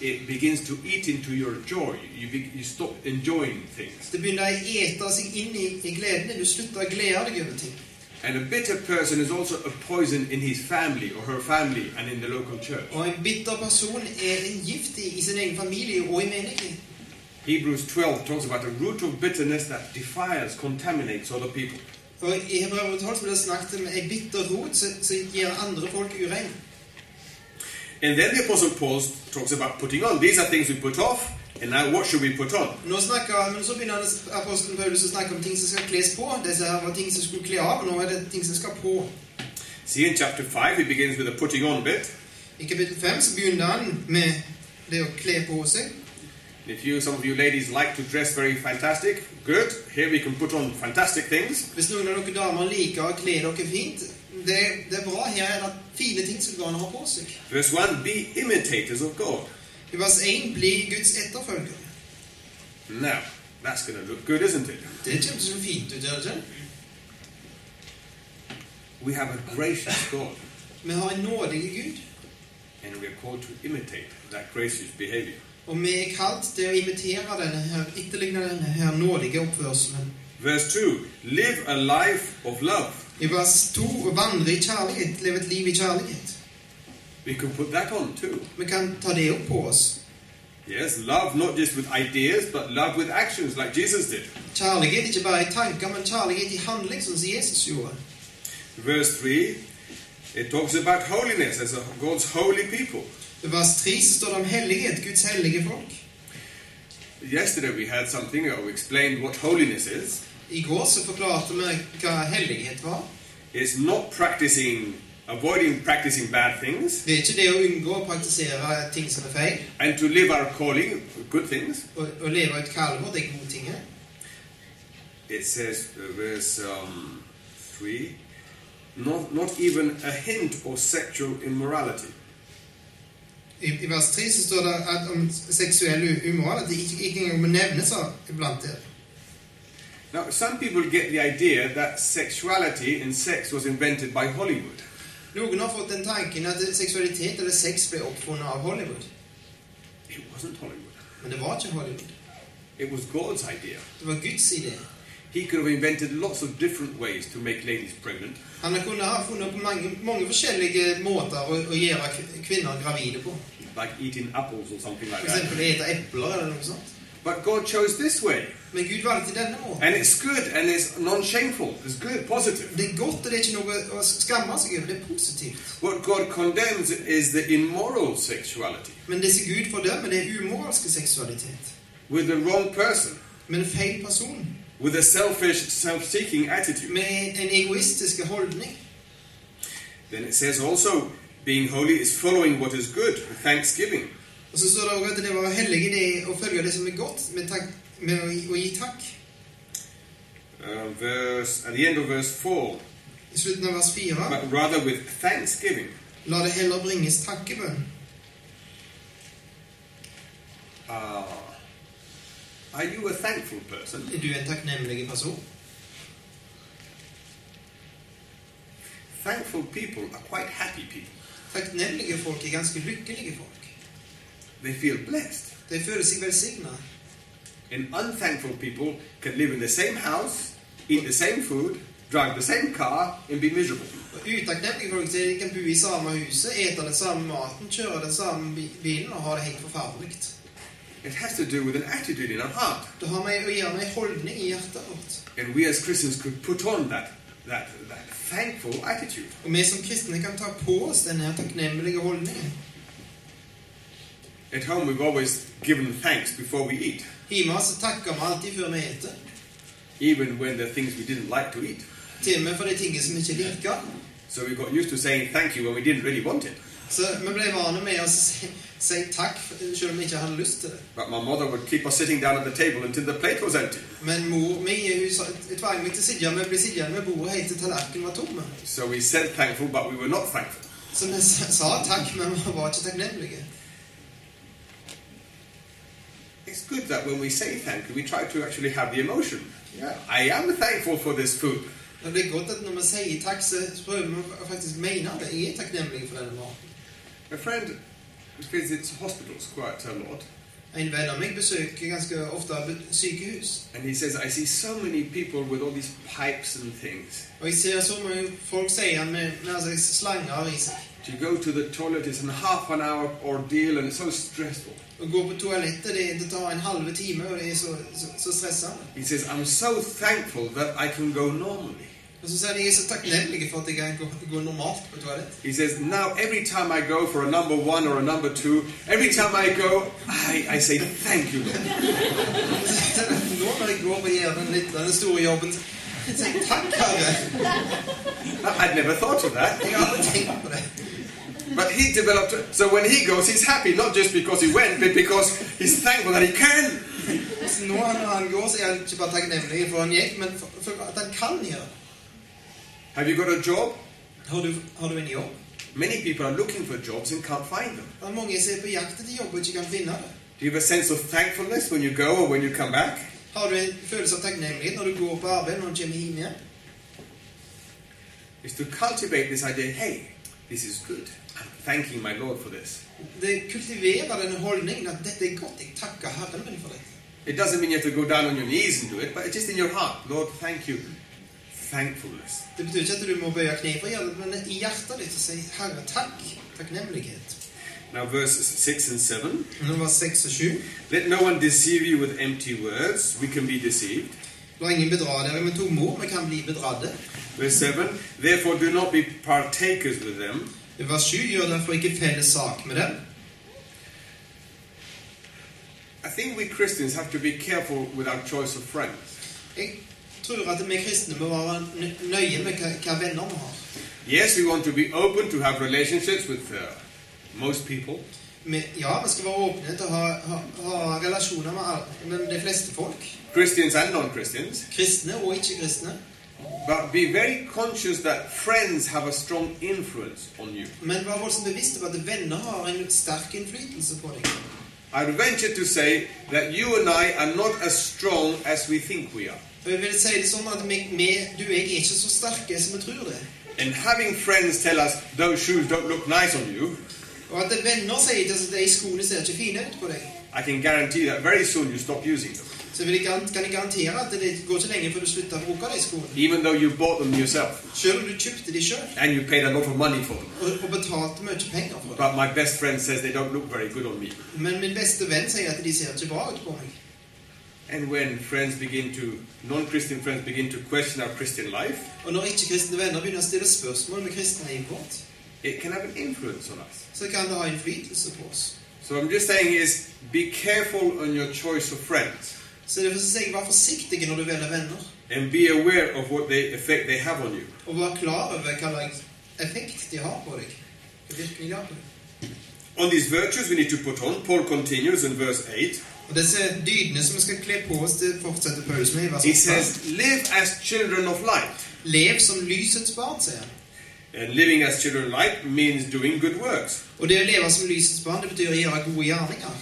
B: It begins to eat into your joy. You, be, you stop enjoying things.
C: Det begynner å ete seg inn i, i gledene. Du slutter å glede deg over ting.
B: And a bitter person is also a poison in his family or her family and in the local church.
C: Og en bitter person er en gift i, i sin egen familie og i menigheten.
B: Hebrews 12 talks about a root of bitterness that defiles, contaminates other people.
C: For i Hebrevet 12 så blir det snakket om ei bitter rot som som gjør andre folk urein.
B: And then the Apostle Paul talks about putting on. These are things we put off, and now what should we put on?
C: Nå snakker, han- men så begynner han- apostelen Paulus å snakke om ting som skal kles på. Disse her var ting som skulle kle av, og nå er det ting som skal på.
B: See, in chapter 5, he begins with the putting on bit.
C: I kapittel 5 så begynner han med det å kle på seg.
B: If you, some of you ladies, like to dress very fantastic, good. Here we can put on fantastic things.
C: Hvis noen av dere damer liker å kle dere fint, det, det er bra. Her er det fine ting som går an å ha på seg.
B: Verse 1 Be imitators of God.
C: I vers 1 blir Guds etterfølger.
B: Now, that's going to look good, isn't it?
C: Det kommer så fint ut, gjør det ikke?
B: We have a gracious God,
C: Vi har en nådig Gud,
B: and we are called to imitate that gracious behavior.
C: og vi er kalt til å imitere denne her, etterligne denne her nådige oppførselen.
B: Verse 2 Live a life of love.
C: I vers 2 å vandre i kjærlighet, leve et liv i kjærlighet.
B: We can put that on too.
C: Vi kan ta det opp på oss.
B: Yes, love not just with ideas, but love with actions, like Jesus did.
C: Kjærlighet ikke bare i tanker, men kjærlighet i handling, sånn som Jesus gjorde.
B: Verse 3 It talks about holiness as a, God's holy people.
C: I vers 3 så står det om hellighet, Guds hellige folk.
B: Yesterday we had something that we explained what holiness is.
C: I går så forklarte vi hva hellighet var.
B: It's not practicing, avoiding practicing bad things,
C: Det er ikke det å unngå å praktisere ting som er feil,
B: and to live our calling, good things.
C: og, og leve ut kalver, det er gode ting. her.
B: It says, uh, verse um, 3, not, not even a hint of sexual immorality.
C: I, I vers 3 så står det at om seksuell u- umoral at det ikke, ikke engang må nevnes av- iblant dere.
B: Now, some people get the idea that sexuality and sex was invented by Hollywood.
C: Noen har fått den tanken at seksualitet eller sex ble oppfunnet av Hollywood.
B: It wasn't Hollywood,
C: Men det var ikke Hollywood.
B: it was God's idea.
C: Det var Guds idé.
B: He could have invented lots of different ways to make ladies pregnant.
C: Han kunne ha funnet på mange, mange forskjellige måter å, å gjøre kv- kvinner gravide på.
B: like eating apples or something like
C: For
B: that.
C: eksempel å ete epler eller noe sånt.
B: But God chose this way,
C: Men Gud valgte denne måten.
B: and it's good, and it's non-shameful. It's good, positive.
C: Det er godt, og det er ikke noe å skamme seg over. Det er positivt.
B: What God condemns is the immoral sexuality
C: Men det som Gud fordømmer, det er umoralsk seksualitet.
B: with the wrong person,
C: Med en feil person.
B: with a selfish, self-seeking attitude.
C: Med en egoistisk holdning.
B: Then it says also, being holy is following what is good with thanksgiving.
C: Og så står det også at det var hellige det er å følge det som er godt, med, takk, med å, gi, å gi takk.
B: Uh, verse at the end of verse four,
C: I slutten av vers 4
B: but rather with thanksgiving.
C: La det heller bringes takkebønn.
B: Ah, are you a thankful person?
C: Er du en takknemlig person?
B: Thankful people are quite happy people.
C: Takknemlige folk er ganske lykkelige folk.
B: They feel blessed.
C: De føler seg velsigna.
B: And unthankful people can live in the same house, eat the same food, drive the same car, and be miserable.
C: Og utakknemlige folk sier de kan bo i samme huset, ete den samme maten, kjøre den samme bi- bilen og ha det helt forferdelig.
B: It has to do with an attitude in our heart.
C: Det har med å gjøre med en holdning i hjertet vårt.
B: And we as Christians could put on that, that, that thankful attitude.
C: Og vi som kristne kan ta på oss denne her takknemlige holdningen.
B: At home, we've always given thanks before we eat,
C: Hjemme så takker vi alltid før vi eter.
B: even when there are things we didn't like to eat.
C: Til og med for de tingene som vi ikke liker.
B: So we got used to saying thank you when we didn't really want it.
C: Så vi ble vane med å si, si takk selv om vi ikke hadde lyst til det.
B: But my mother would keep us sitting down at the table until the plate was empty.
C: Men mor mi hun sa- tvang meg til å sitte med, bli sittende ved bordet helt til tallerkenen var tom.
B: So we said thankful, but we were not thankful.
C: Så vi sa sa takk, men vi var ikke takknemlige.
B: It's good that when we say thank you, we try to actually have the emotion. Yeah. I am thankful for this food.
C: Og det er godt at når vi sier takk, så så prøver vi å faktisk mene det. Jeg er takknemlig for denne maten.
B: A friend visits hospitals quite a lot,
C: En venn av meg besøker ganske ofte be- sykehus.
B: and he says, I see so many people with all these pipes and things.
C: Og jeg ser så mange folk sier han med, med altså slanger i seg.
B: To go to the toilet is a half an hour ordeal, and it's so stressful.
C: Å gå på toalettet, det, det tar en halve time, og det er så, så, så stressende.
B: He says, I'm so thankful that I can go normally.
C: Og så sier de jeg er så takknemlig for at jeg kan gå, gå normalt på toalett.
B: He says, Now, every time I go for a number one or a number two, every time I go, I, I say, Thank you, Lord.
C: Og så sier han, Nå når jeg går og gjør den litt den store jobben, så sier jeg takk, Herre.
B: Now, I'd never thought of that.
C: Jeg har aldri tenkt på det.
B: But he developed, so when he goes, he's happy, not just because he went, but because he's thankful that he can.
C: Så nå når han går, så er han ikke bare takknemlig for han gikk, men for, for at han kan gjøre det.
B: Have you got a job?
C: Har du, har du en jobb?
B: Many people are looking for jobs and can't find them.
C: Det er mange som er på jakt etter jobb og ikke kan finne det.
B: Do you have a sense of thankfulness when you go or when you come back?
C: Har du en følelse av takknemlighet når du går på arbeid når du kommer hjem igjen?
B: Is to cultivate this idea hey, this is good. I'm thanking my Lord for this.
C: Det kultiverer denne holdningen at dette er godt, jeg takker Herren min for dette.
B: It doesn't mean you have to go down on your knees and do it, but it's just in your heart. Lord, thank you. Thankfulness.
C: Det betyr ikke at du må bøye kne for å gjøre det, men i hjertet ditt så si Herre takk, takknemlighet.
B: Now, verses 6 and 7.
C: Når det var seks og sju,
B: Let no one deceive you with empty words. We can be deceived.
C: la ingen bedra dere med tomme ord, vi kan bli bedradde.
B: Verse 7. Therefore, do not be partakers with them.
C: I vers sju gjør derfor ikke felles sak med dem.
B: I think we Christians have to be careful with our choice of friends.
C: Jeg tror at vi kristne må være nø- nøye med hva, hva venner vi har.
B: Yes, we want to be open to have relationships with uh, most people,
C: Vi, ja, vi skal være åpne til å ha, ha, ha relasjoner med, alle- med de fleste folk.
B: Christians and non Christians,
C: Kristne og ikke-kristne.
B: but be very conscious that friends have a strong influence on you.
C: Men vær voldsomt bevisst på at venner har en sterk innflytelse på deg.
B: I would venture to say that you and I are not as strong as we think we are.
C: Og jeg vil si det sånn at vi, vi, du og jeg er ikke så sterke som vi tror det.
B: And having friends tell us those shoes don't look nice on you,
C: Og at venner sier til oss at de skoene ser ikke fine ut på deg.
B: I can guarantee that very soon you stop using them,
C: Så vil jeg, garan- kan jeg garantere at det går ikke lenge før du slutter å bruke de skoene.
B: even though you bought them yourself
C: Selv om du kjøpte de selv
B: and you paid a lot of money for them.
C: og, og betalte mye penger for dem.
B: But my best friend says they don't look very good on me.
C: Men min beste venn sier at de ser ikke bra ut på meg.
B: And when friends begin to, non Christian friends begin to question our Christian life,
C: Og når ikke-kristne venner begynner å stille spørsmål med kristenlivet vårt,
B: it can have an influence on us.
C: så kan det ha innflytelse på oss.
B: So I'm just saying is be careful on your choice of friends
C: Så derfor så sier jeg vær forsiktig når du velger venner.
B: and be aware of what they, effect they have on you.
C: Og vær klar over hva slags effekt de har på deg. Hva virkning de har på deg.
B: On these virtues we need to put on, Paul continues in verse 8.
C: Og disse dydene som vi skal kle på oss, det fortsetter Paulus med i vers
B: He
C: 8.
B: says, Live as children of light.
C: Lev som lysets barn, sier han.
B: And living as children of light means doing good works.
C: Og det å leve som lysets barn, det betyr å gjøre gode gjerninger.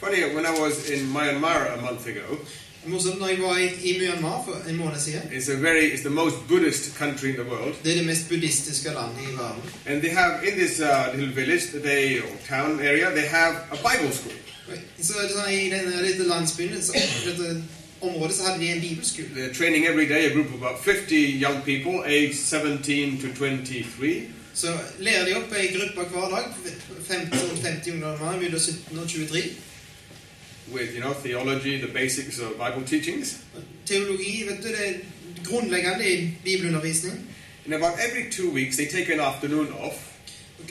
B: Funny, when I was in Myanmar a month ago,
C: Morsomt, når jeg var i, i Myanmar for en måned siden
B: it's, a very, it's the most Buddhist country in the world.
C: Det er det mest buddhistiske landet i verden.
B: And they have in this uh, little village, they or town area, they have a Bible school.
C: Og Så er det sånn, I denne lille landsbyen, så, dette området, så hadde de en bibelskole.
B: They're training every day a group of about 50 young people, aged 17 to 23,
C: Så lærer de opp ei gruppe hver dag, 50, 50 ungdommer mellom 17 og 23.
B: with you know theology, the basics of Bible teachings.
C: Teologi, vet du, det er grunnleggende i bibelundervisning.
B: And about every two weeks, they take an afternoon off,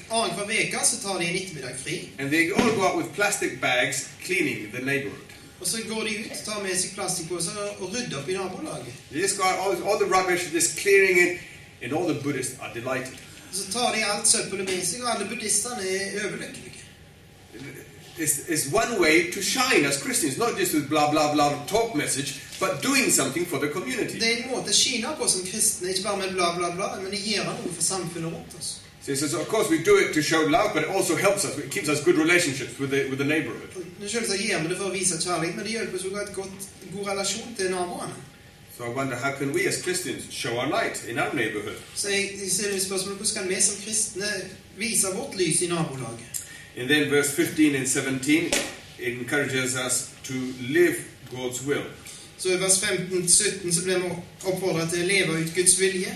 C: Og Annenhver uke så tar de en ettermiddag fri,
B: and they all go out with plastic bags cleaning the neighborhood.
C: og så går de ut, tar med seg plastposer og rydder opp i nabolaget.
B: They just got all, all the rubbish, just clearing it, and all the Buddhists are delighted.
C: Så tar de alt søppelet med seg, og alle buddhistene er overlykkelige.
B: It's, it's one way to shine as Christians, not just with blah blah blah talk message, but doing something for the community.
C: Det er en måte å skine på som kristne, ikke bare med bla, bla, bla, men å gjøre noe for samfunnet rundt oss.
B: So he says, of course, we do it to show love, but it also helps us. It keeps us good relationships with the, with the neighborhood.
C: Og Selvsagt gjør vi det for å vise kjærlighet, men det hjelper oss også å ha et godt, god relasjon til naboene.
B: So I wonder, how can we as Christians show our light in our neighborhood?
C: Så jeg, jeg stiller spørsmålet hvordan kan vi som kristne vise vårt lys i nabolaget?
B: And then verse 15 and 17 encourages us to live God's will.
C: Så i vers 15-17 så blir vi oppfordret til å leve ut Guds vilje.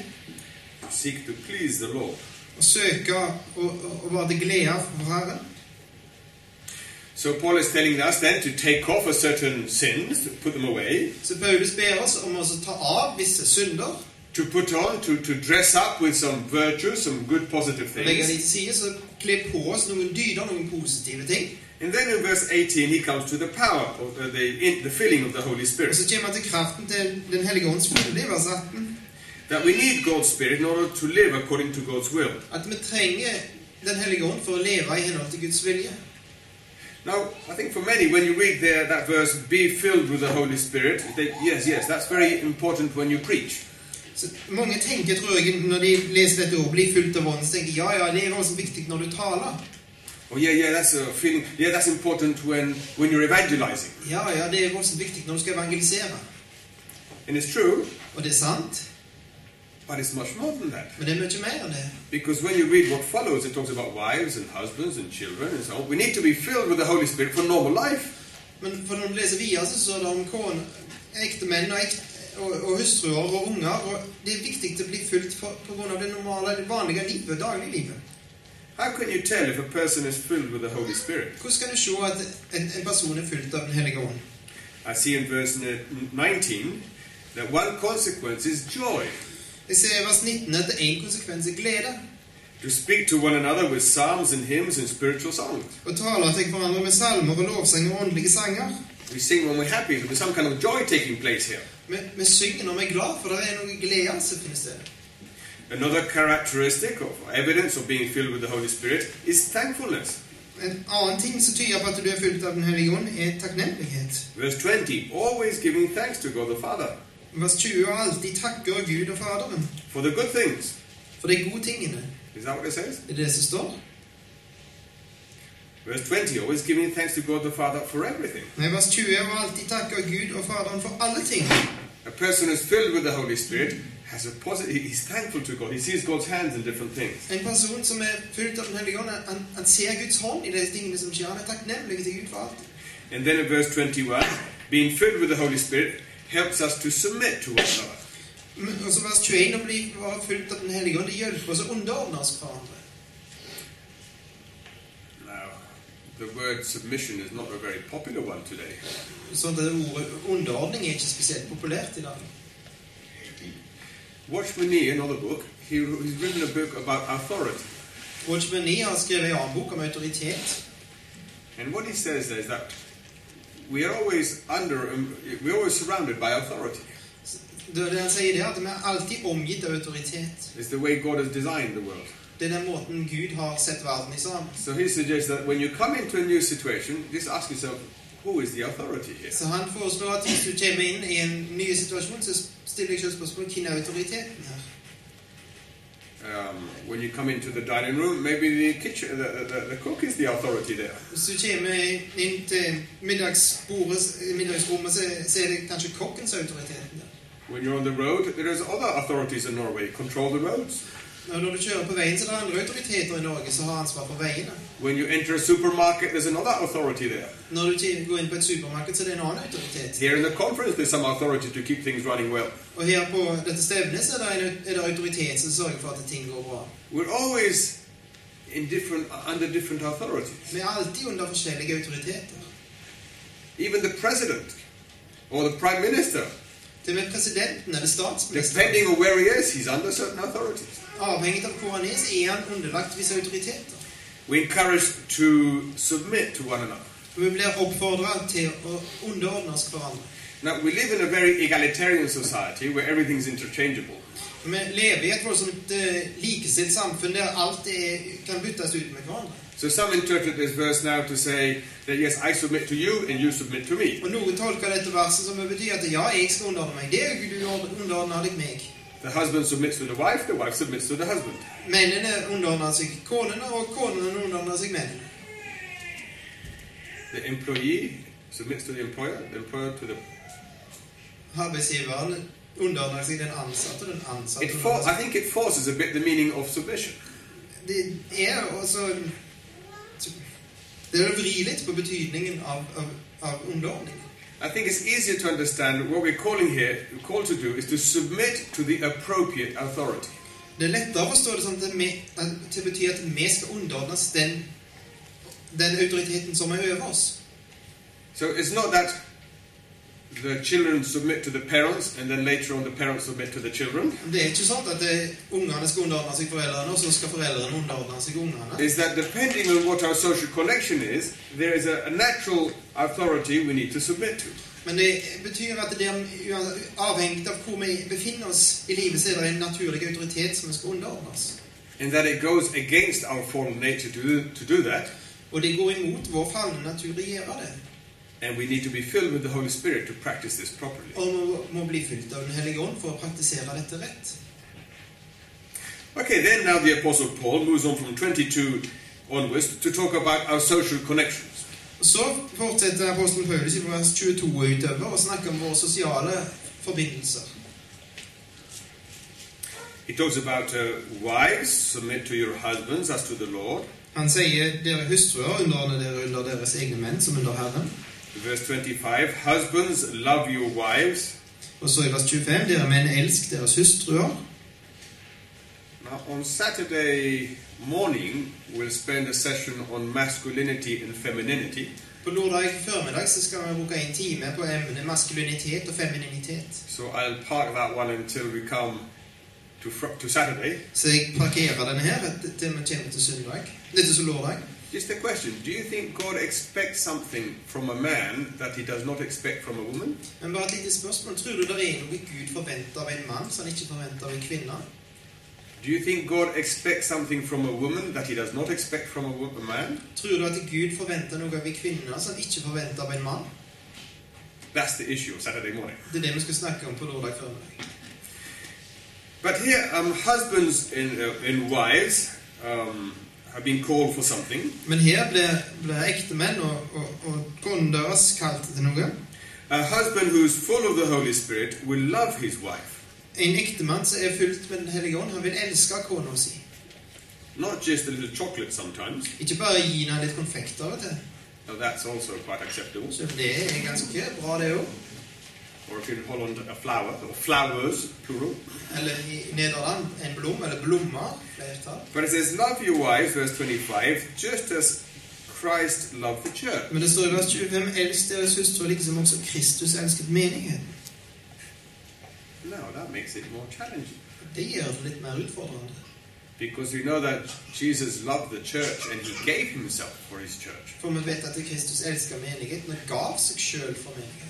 B: to Seek to please the Lord.
C: Å søke og, og, og være til glede for Herren.
B: So Paul is telling us then to take off a certain sins, to put them away,
C: Så Paulus ber oss om å ta av visse synder,
B: to put on, to, to dress up with some virtues, some good positive
C: legge
B: things.
C: de til side, så kle på oss noen dyder, noen positive ting.
B: And then in verse 18 he comes to the power, of uh, the, the, in, the filling of the Holy
C: Og
B: Spirit.
C: så kommer han til kraften til Den hellige ånds fylde i vers 18.
B: That we need God's Spirit in order to live according to God's will.
C: At vi trenger Den hellige ånd for å leve i henhold til Guds vilje.
B: Now, I think for many, when you read there that verse, be filled with the Holy Spirit, you think, yes, yes, that's very important when you preach.
C: Så mange tenker, tror jeg, når de leser dette og blir fulgt av ånden, så tenker de, ja, ja, det er ganske viktig når du taler.
B: Oh, yeah, yeah, that's a feeling, yeah, that's important when, when you're evangelizing.
C: Ja, ja, det er ganske viktig når du skal evangelisere.
B: And it's true,
C: Og det er sant,
B: but it's much more than that.
C: men det er mye mer enn det.
B: Because when you read what follows, it talks about wives and husbands and children and so on. We need to be filled with the Holy Spirit for normal life.
C: Men for når du leser videre, så står det om kone, ektemenn og, ek- og, og hustruer og unger. Og det er viktig å bli fulgt for, på grunn av det normale, det vanlige livet, dagliglivet.
B: How can you tell if a person is filled with the Holy Spirit?
C: Hvordan kan du se at en, en person er fulgt av Den hellige ånd?
B: I see in verse uh, 19 that one consequence is joy.
C: Jeg ser i vers 19 at en konsekvens er glede.
B: To speak to one another with psalms and hymns and spiritual songs.
C: Og taler til hverandre med salmer og lovsanger og åndelige sanger.
B: We sing when we're happy, there's some kind of joy taking place here.
C: Vi, vi synger når vi er glad, for det er noe glede som finnes der.
B: Another characteristic or evidence of being filled with the Holy Spirit is thankfulness.
C: En annen ting som tyder på at du er fulgt av Den hellige ånd, er takknemlighet.
B: Verse 20 Always giving thanks to God the Father
C: Vers 20 er alltid takker Gud og Faderen
B: for the good things.
C: for de gode tingene.
B: Is that what it says?
C: Det er det som står.
B: Verse 20 Always giving thanks to God the Father for everything.
C: Nei, vers 20 er alltid takker Gud og Faderen for alle ting.
B: A person who's filled with the Holy Spirit has a positive, he's thankful to God. He sees God's hands in different things.
C: En person som er fulgt av Den hellige ånd, han, han ser Guds hånd i de tingene som skjer. Han er takknemlig til Gud for alt.
B: And then in verse 21, being filled with the Holy Spirit helps us to submit to one another.
C: Men også vers 21 å bli bare fulgt av Den hellige ånd, det hjelper oss å underordne oss hverandre.
B: Now, the word submission is not a very popular one today.
C: Sånn at det ordet underordning er ikke spesielt populært i dag.
B: Watchman Nee, another book, he, he's written a book about authority.
C: Roger Benny har skrevet en annen bok om autoritet.
B: And what he says there is that we are always under, um, we're always surrounded by authority.
C: Det det han sier, det er at vi er alltid omgitt av autoritet.
B: It's the way God has designed the world.
C: Det er den måten Gud har sett verden i sammen.
B: So he suggests that when you come into a new situation, just ask yourself, who is the authority here?
C: Så han foreslår at hvis du kommer inn i en ny situasjon, så stiller jeg selv spørsmål hvem er autoriteten her.
B: Um, when you come into the dining room, maybe the kitchen, the, the, the cook is the authority there.
C: Hvis du kommer inn til middagsbordet, middagsrommet, så, så er det kanskje kokkens autoritet der.
B: When you're on the road, there is other authorities in Norway control the roads.
C: Og når du kjører på veien, så er det andre autoriteter i Norge som har ansvar for veiene.
B: When you enter a supermarket, there's another authority there.
C: Når du kjem- går inn på et supermarked, så er det en annen autoritet.
B: Here in the conference, there's some authority to keep things running well.
C: Og her på dette stevnet så er det, en, er det autoritet som sørger for at ting går bra.
B: We're always in different under different authorities.
C: Vi er alltid under forskjellige autoriteter.
B: Even the president or the prime minister,
C: Til og med presidenten eller statsministeren.
B: depending on where he is, he's under certain authorities.
C: Avhengig av hvor han er, så er han underlagt visse autoriteter.
B: We're encouraged to submit to one another.
C: Og vi blir oppfordra til å underordne oss hverandre.
B: Now, we live in a very egalitarian society where everything's interchangeable.
C: Vi lever i et voldsomt eh, likestilt samfunn der alt er, kan byttes ut med hverandre.
B: So some interpret this verse now to say that yes, I submit to you and you submit to me.
C: Og Noen tolker dette verset som å bety at ja, jeg skal underordne meg deg, og du underordner deg meg.
B: The husband submits to the wife, the wife submits to the husband.
C: Mennene underordner seg konene, og konene underordner seg mennene.
B: The employee submits to the employer, the employer to the.
C: Arbeidsgiveren underordner seg den ansatte, og den ansatte
B: It for, I
C: underordner seg-
B: think it forces a bit the meaning of submission.
C: Det er også Det er å vri litt på betydningen av, av, av underordning.
B: I think it's easier to understand what we're calling here, called to do, is to submit to the appropriate authority.
C: Det er lettere å forstå det sånn at vi- at det betyr at vi skal underordne oss den den autoriteten som er over oss.
B: So it's not that the children submit to the parents and then later on the parents submit to the children.
C: Det er ikke sånn at eh, ungene skal underordne seg foreldrene, og så skal foreldrene underordne seg ungene.
B: Is that depending on what our social connection is, there is a, a natural authority we need to submit to.
C: Men det betyr at det er uan- avhengig av hvor vi befinner oss i livet, så er det en naturlig autoritet som vi skal underordnes.
B: In that it goes against our formal nature to do, to do that,
C: Og det går imot vår falne natur å gjøre det.
B: and we need to be filled with the Holy Spirit to practice this properly.
C: Og vi må- må bli fylt av Den hellige ånd for å praktisere dette rett.
B: Okay, then now the Apostle Paul moves on from 22 onwards to talk about our social connections.
C: Og Så fortsetter apostelen Paulus i vers 22 og utover og snakker om våre sosiale forbindelser.
B: He talks about uh, wives, submit to your husbands as to the Lord.
C: Han sier dere hustruer underordner dere under deres egne menn som under Herren.
B: Verse 25 Husbands, love your wives.
C: Og så i vers 25 dere menn elsk deres hustruer.
B: Now, on Saturday morning, we'll spend a session on masculinity and femininity.
C: På lørdag formiddag så skal vi bruke en time på emnet maskulinitet og femininitet.
B: So I'll park that one until we come to, fr- to Saturday.
C: Så jeg parkerer den her til vi kommer til søndag. Dette til lørdag.
B: Just a question Do you think God expects something from a man that he does not expect from a woman?
C: Men bare et lite spørsmål. Tror du det er noe Gud forventer av en mann som han ikke forventer av en kvinne?
B: Do you think God expects something from a woman that he does not expect from a, wo- a man?
C: Tror du at Gud forventer noe av en kvinne som han ikke forventer av en mann?
B: That's the issue of Saturday morning.
C: Det er det vi skal snakke om på lørdag formiddag.
B: But here, um, husbands and, uh, and wives um, have been called for something.
C: Men her blir, blir ektemenn og, og, og konen deres kalt til noe.
B: A husband who is full of the Holy Spirit will love his wife,
C: En ektemann som er fulgt med Den hellige ånd, han vil elske kona si.
B: not just a little chocolate sometimes.
C: Ikke bare gi henne litt konfekt av og til.
B: Now that's also quite acceptable.
C: Så det er ganske bra, det òg.
B: Or if you hold on to a flower, or flowers, plural.
C: Eller i Nederland en blom, eller blommer. Flertall.
B: But it says, Love your wife, verse 25, just as Christ loved the church.
C: Men det står i vers 25 Elsk deres hustru liksom også Kristus elsket menigheten.
B: Now that makes it more challenging.
C: Det gjør det litt mer utfordrende.
B: Because we know that Jesus loved the church and he gave himself for his church.
C: For vi vet at Kristus elsket menigheten og gav seg sjøl for menigheten.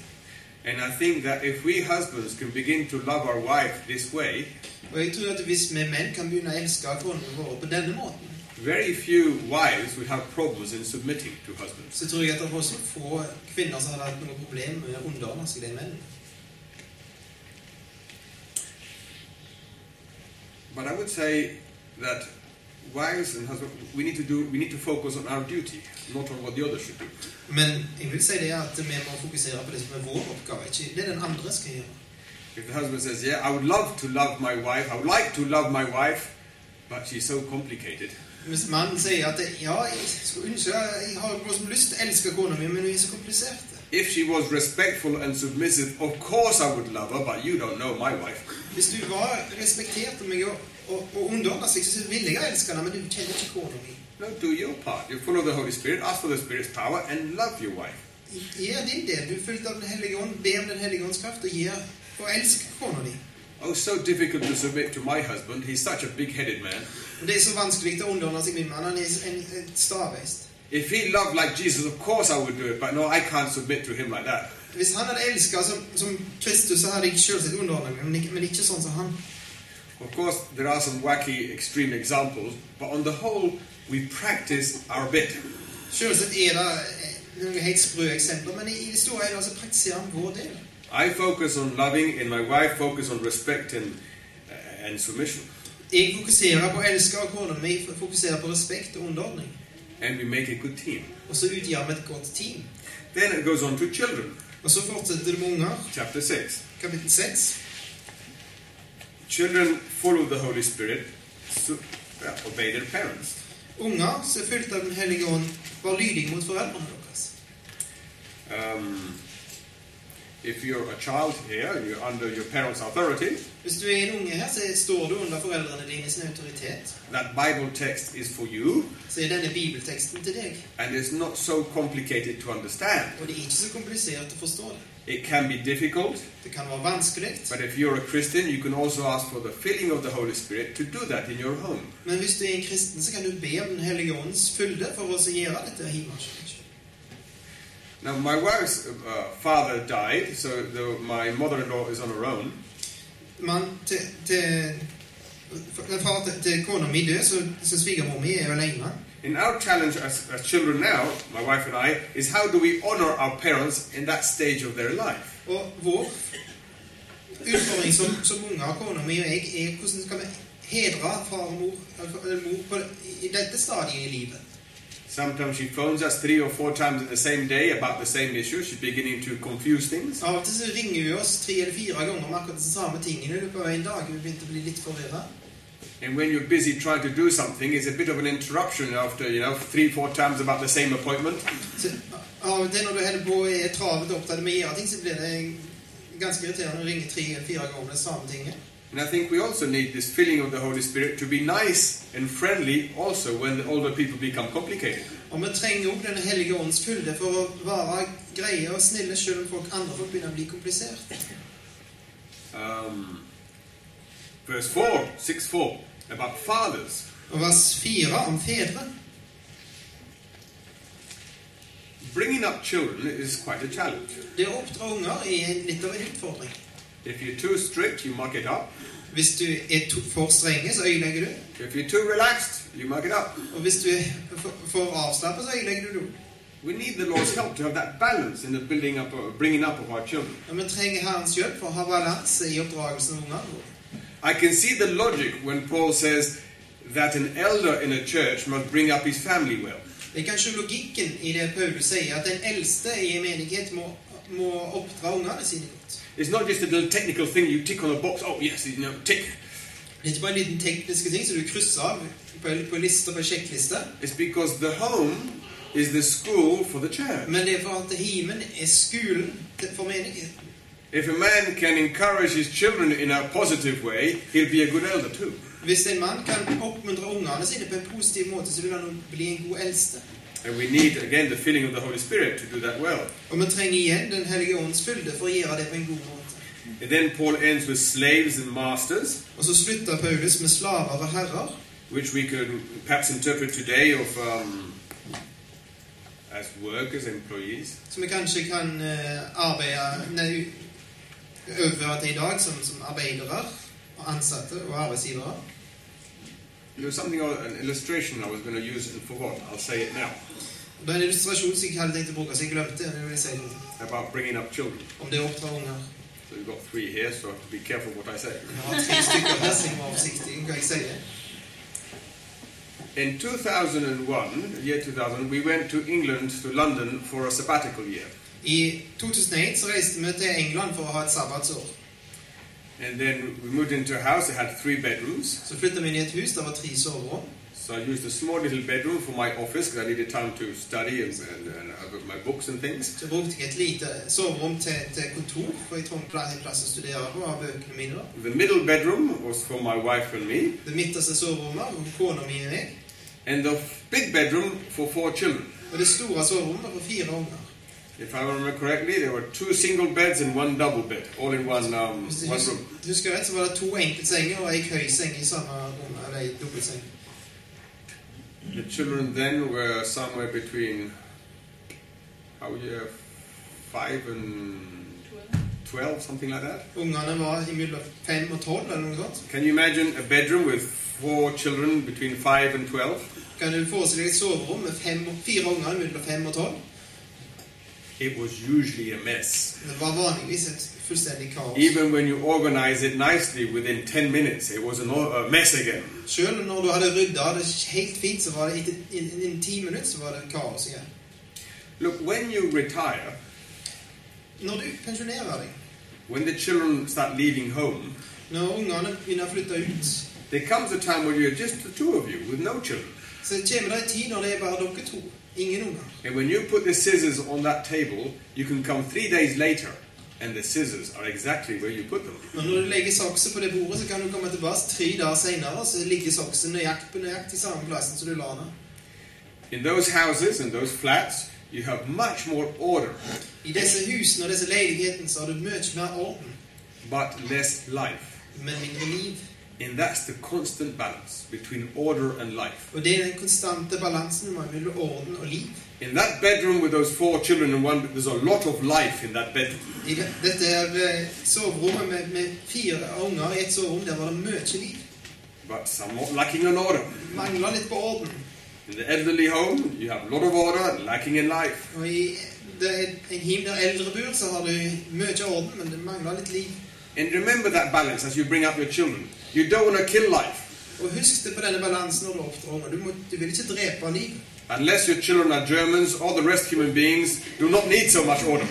B: And I think that if we husbands can begin to love our wife this way,
C: Og jeg tror at hvis vi menn kan begynne å elske konene våre på denne måten,
B: very few wives would have problems in submitting to husbands.
C: så tror jeg at det var så få kvinner som hadde hatt noe problem med å underordne seg de mennene.
B: But I would say that wives and husbands, we need to do, we need to focus on our duty, not on what the other should do.
C: Men jeg vil si det at vi må fokusere på det som er vår oppgave, ikke det den andre skal gjøre.
B: If the husband says, "Yeah, I would love to love my wife. I would like to love my wife, but she's so complicated,"
C: Hvis mannen sier at ja, jeg skulle ønske jeg har bare som lyst til å elske kona mi, men hun er så komplisert.
B: if she was respectful and submissive, of course I would love her. But you don't know my wife.
C: Hvis du var respektert meg og, og, og underordna seg, så ville jeg elske henne, men du kjenner ikke kona mi.
B: No, do your part. You're full of the Holy Spirit. Ask for the Spirit's power and love your wife.
C: Gjør din del. Du er fulgt av Den hellige ånd. Be om Den hellige ånds kraft og gjør og elsk kona di.
B: Oh, so difficult to submit to my husband. He's such a big-headed man.
C: Og Det er så vanskelig å underordne seg min mann. Han er en, en stavest.
B: If he loved like Jesus, of course I would do it. But no, I can't submit to him like that.
C: Hvis han hadde elska som, som Kristus, så hadde jeg selvsagt underordna meg, men ikke, men ikke sånn som han.
B: Of course, there are some wacky, extreme examples. But on the whole, we practice our bit.
C: Selvsagt er det eh, noen helt sprø eksempler, men i, i det store og hele så praktiserer han vår del.
B: I focus on loving, and my wife focus on respect and uh, and submission,
C: Jeg fokuserer på å elske og kona mi fokuserer på respekt og underordning.
B: and we make a good team.
C: Og så utgjør vi et godt team.
B: Then it goes on to children,
C: Og så fortsetter det med unger,
B: chapter six.
C: kapittel 6.
B: Children follow the Holy Spirit, so, well, obey their parents.
C: Unger som er fulgt av Den hellige ånd, var lydige mot foreldrene deres.
B: Um, If you're a child here, you're under your parents' authority.
C: Hvis du er en unge her, så står du under foreldrene dine sin autoritet.
B: That Bible text is for you,
C: Så er denne bibelteksten til deg.
B: and it's not so complicated to understand.
C: Og det er ikke så komplisert å forstå det.
B: It can be difficult,
C: Det kan være vanskelig,
B: but if you're a Christian, you can also ask for the filling of the Holy Spirit to do that in your home.
C: men hvis du er en kristen, så kan du be om Den hellige ånds fylde for å så gjøre dette hjemme.
B: Now, my wife's uh, father died, so the, my mother in law is on her own.
C: Mann til, til når far til, til kona mi død, så, så svigermor mi er alene.
B: And our challenge as, as children now, my wife and I, is how do we honor our parents in that stage of their life?
C: Og vår utfordring som, som unger, av kona mi og jeg, er hvordan skal vi hedre far og mor, eller mor på, i dette stadiet i livet.
B: Sometimes she phones us three or four times in the same day about the same issue. She's beginning to confuse things.
C: Av og til så ringer hun oss tre eller fire ganger om akkurat de samme tingene i løpet av en dag. Hun begynte å bli litt forvirra.
B: And when you're busy trying to do something, it's a bit of an interruption after, you know, three, four times about the same appointment.
C: Så Av og til når du holder på og er travet og opptatt med å gjøre ting, så blir det ganske irriterende å ringe tre eller fire ganger om det samme tinget.
B: And I think we also need this filling of the Holy Spirit to be nice and friendly also when the older people become complicated.
C: Og vi trenger òg Den hellige ånds fylde for å være greie og snille selv om folk andre folk begynner å bli komplisert.
B: Um, verse 4, 6 4, about fathers.
C: Og vers fire om fedre.
B: Bringing up children is quite a challenge.
C: Det å oppdra unger er en- litt av en utfordring.
B: If you're too strict, you muck it up.
C: Hvis du er to, for strenge, så ødelegger du.
B: If you're too relaxed, you muck it up.
C: Og hvis du er for, for avslappet, så ødelegger du det.
B: We need the Lord's help to have that balance in the building up, of, bringing up of our children.
C: Og vi trenger Herrens hjelp for å ha balanse i oppdragelsen av ungene våre.
B: I can see the logic when Paul says that an elder in a church must bring up his family well.
C: Det er kanskje logikken i det Paulus sier, at den eldste i en menighet må, må oppdra ungene sine godt.
B: It's not just a little technical thing you tick on a box. Oh yes, you know, tick.
C: Det er ikke bare en liten tekniske ting som du krysser av på, på lister på sjekkliste,
B: It's because the home is the school for the church.
C: men det er for at heimen er skolen til- for menigheten.
B: If a man can encourage his children in a positive way, he'll be a good elder too.
C: Hvis en mann kan oppmuntre ungene sine på en positiv måte, så vil han bli en god eldste.
B: And we need again the filling of the Holy Spirit to do that well.
C: Og vi trenger igjen Den hellige ånds fylde for å gjøre det på en god måte.
B: And then Paul ends with slaves and masters,
C: Og så slutter Paulus med slaver og herrer,
B: which we could perhaps interpret today of um, as workers, employees.
C: som vi kanskje kan eh, arbeide nei, overføre til i dag som, som arbeidere, og ansatte og arbeidsgivere.
B: There's something, uh, an illustration I was going to use and forgot. I'll say it now
C: Og Det er en illustrasjon som jeg ikke hadde tenkt å bruke, så jeg glemte det. men jeg vil si noe
B: about bringing up children.
C: om det å oppdra unger.
B: So we've got three here, so I have to be careful what I say.
C: Jeg har tre stykker her, så jeg må være forsiktig med hva jeg sier.
B: In 2001, year 2000, we went to England, to London for a sabbatical year.
C: I 2001 så reiste vi til England for å ha et sabbatsår.
B: And then we moved into a house that had three bedrooms.
C: Så flytta vi inn i et hus der var tre soverom.
B: So I used a small little bedroom for my office because I needed time to study and, and, and I got my books and things.
C: Så brukte jeg et lite soverom til, til kontor, for jeg trengte plass, en plass å studere på og ha bøkene mine. da.
B: The middle bedroom was for my wife and me,
C: Det midterste soverommet var for kona mi og jeg.
B: and the big bedroom for four children.
C: Og det store soverommet var for fire unger.
B: If I remember correctly, there were two single beds and one double bed, all in one um,
C: Hvis jeg
B: one
C: husker,
B: room.
C: husker rett, så var det to enkeltsenger og ei høyseng i samme rom. Eller ei dobbeltseng.
B: The children then were somewhere between how year five and twelve, something like that.
C: Ungene var imellom fem og tolv, eller noe sånt.
B: Can you imagine a bedroom with four children between five and twelve?
C: Kan du forestille deg et soverom med fem, fire unger mellom fem og tolv?
B: It was usually a mess.
C: Det var vanligvis et fullstendig kaos.
B: Even when you organize it nicely, within 10 minutes, it was an o- a mess again.
C: Sjøl når du hadde rydda det helt fint, så var det etter innen innen ti minutter så var det kaos igjen.
B: Look, when you retire,
C: Når du pensjonerer deg,
B: when the children start leaving home,
C: når ungene begynner å flytte ut,
B: there comes a time when you're just the two of you with no children.
C: så kommer det en tid når det er bare dere to. Ingen unger.
B: And when you put the scissors on that table, you can come three days later and the scissors are exactly where you put them.
C: Men når du legger sokset på det bordet, så kan du komme tilbake tre dager senere, og så ligger sokset nøyaktig på nøyaktig samme plassen som du la det.
B: In those houses and those flats, you have much more order,
C: I disse husene og disse leilighetene så har du mye mer orden,
B: but less life.
C: men mindre liv.
B: And that's the constant balance between order and life.
C: Og det er den konstante balansen mellom orden og liv.
B: In that bedroom with those four children and one, there's a lot of life in that bedroom.
C: I det- dette er eh, soverommet med, med fire unger i et soverom, der var det mye liv.
B: But somewhat lacking in order.
C: Mangla litt på orden.
B: In the elderly home, you have a lot of order, lacking in life.
C: Og i det er en him der eldre bor, så har du mye orden, men det mangler litt liv.
B: And remember that balance as you bring up your children. You don't want to kill life
C: Og husk det på denne balansen når du oppdrar unger. Du, må- du vil ikke drepe liv.
B: unless your children are Germans or the rest human beings do not need so much order.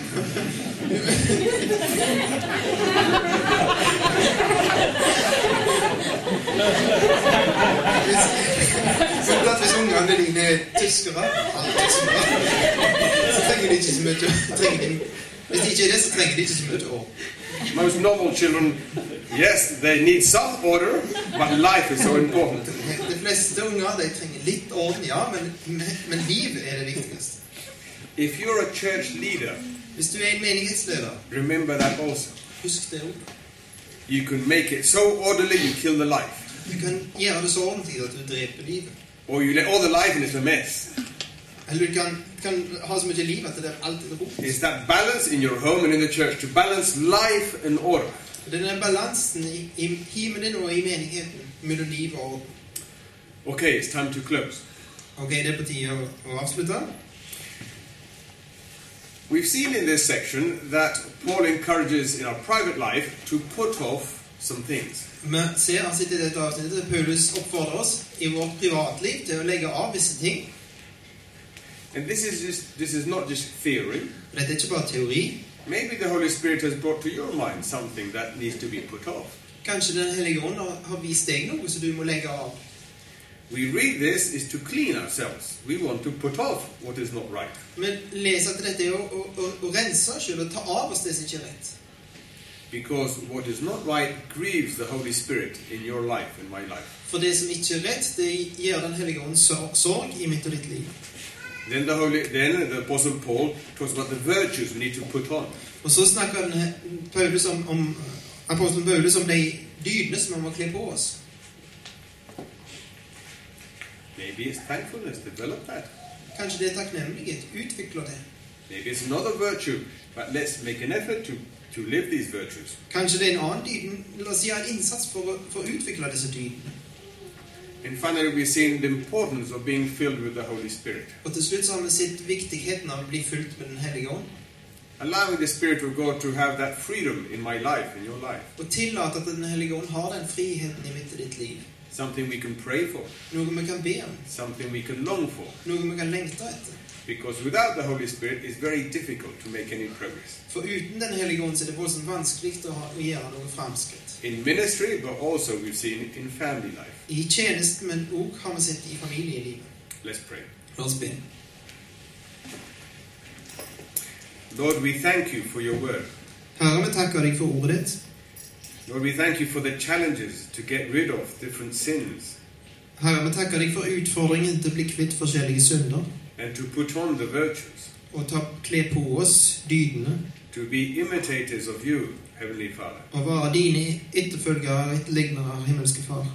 C: Hvis, sånn at hvis ungene dine er tyskere, alle tyskere, så trenger de ikke så mye trenger de, Hvis de ikke er det, så trenger de ikke så mye orden.
B: Most normal children, yes, they need some order, but life is so important.
C: De fleste unger de trenger litt orden, ja, men, men livet er det viktigste.
B: If you're a church leader,
C: Hvis du er en menighetsleder,
B: remember that also.
C: husk det òg.
B: You can make it so orderly you kill the life,
C: Du kan gjøre det så ordentlig at du dreper livet.
B: or you let all the life and it's a mess.
C: Eller du kan, kan ha så mye liv at det er alltid er rot.
B: It's that balance in your home and in the church to balance life and order.
C: Det er den balansen i, i himmelen din og i menigheten mellom liv og orden.
B: Okay, it's time to close.
C: Ok, det er på tide å, å avslutte.
B: We've seen in this section that Paul encourages in our private life to put off some things.
C: Vi ser altså i dette avsnittet at Paulus oppfordrer oss i vårt privatliv til å legge av visse ting.
B: And this is just this is not just theory.
C: Og Dette er ikke bare teori.
B: Maybe the Holy Spirit has brought to your mind something that needs to be put off.
C: Kanskje Den hellige ånd har- har vist deg noe som du må legge av.
B: We read this is to clean ourselves. We want to put off what is not right.
C: Men les at dette er å, å, å, å rense oss selv og ta av oss det som ikke er rett.
B: Because what is not right grieves the Holy Spirit in your life, in my life.
C: For det som ikke er rett, det gjør Den hellige ånd sor- sorg i mitt og ditt liv.
B: Then the Holy then the Apostle Paul talks about the virtues we need to put on.
C: Og så snakker den, Paulus om, om, apostelen Paulus om de dydene som han må kle på oss.
B: Maybe it's thankfulness, develop that.
C: Kanskje det er takknemlighet. Utvikler det.
B: Maybe it's another virtue, but let's make an effort to, to live these virtues.
C: Kanskje det er en annen dyd. La oss gjøre en innsats for å, for å utvikle disse dydene.
B: And finally, we've seen the importance of being filled with the Holy Spirit,
C: Og til slutt så har vi sett viktigheten av å bli fulgt med Den hellige ånd.
B: allowing the Spirit of God to have that freedom in my life, in your life,
C: Og tillate at Den hellige ånd har den friheten i mitt og ditt liv.
B: something we can pray for,
C: Noe vi kan be om.
B: something we can long for.
C: Noe vi kan lengte etter.
B: Because without the Holy Spirit, it's very difficult to make any progress
C: For uten Den hellige ånd så er det voldsomt vanskelig å, ha, å gjøre noe framskritt.
B: in ministry, but also we've seen it in family life.
C: I tjenesten, men òg har vi sett i familielivet.
B: Let's pray.
C: La oss be.
B: Lord, we thank you for your word.
C: Herre, vi takker deg for ordet ditt.
B: Lord, we thank you for the challenges to get rid of different sins
C: Herre, vi takker deg for utfordringen til å bli kvitt forskjellige synder
B: and to put on the virtues.
C: og ta, kle på oss dydene
B: to be imitators of you, Heavenly Father.
C: og være dine etterfølgere og etterlignere, himmelske Far.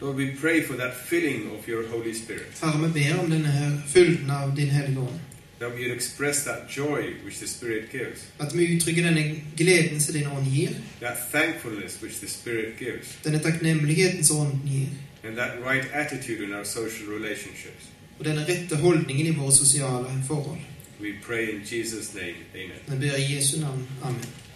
B: Lord, we pray for that filling of your Holy Spirit,
C: Herre, vi ber om denne her fylden av Din Hellige Ånd.
B: that we would express that joy which the Spirit gives,
C: At vi uttrykker denne gleden som Din Ånd gir,
B: that thankfulness which the Spirit gives,
C: denne takknemligheten som Ånden gir,
B: and that right attitude in our social relationships.
C: og denne rette holdningen i våre sosiale forhold.
B: We pray in Jesus' name. Amen.
C: Vi ber i Jesu navn. Amen.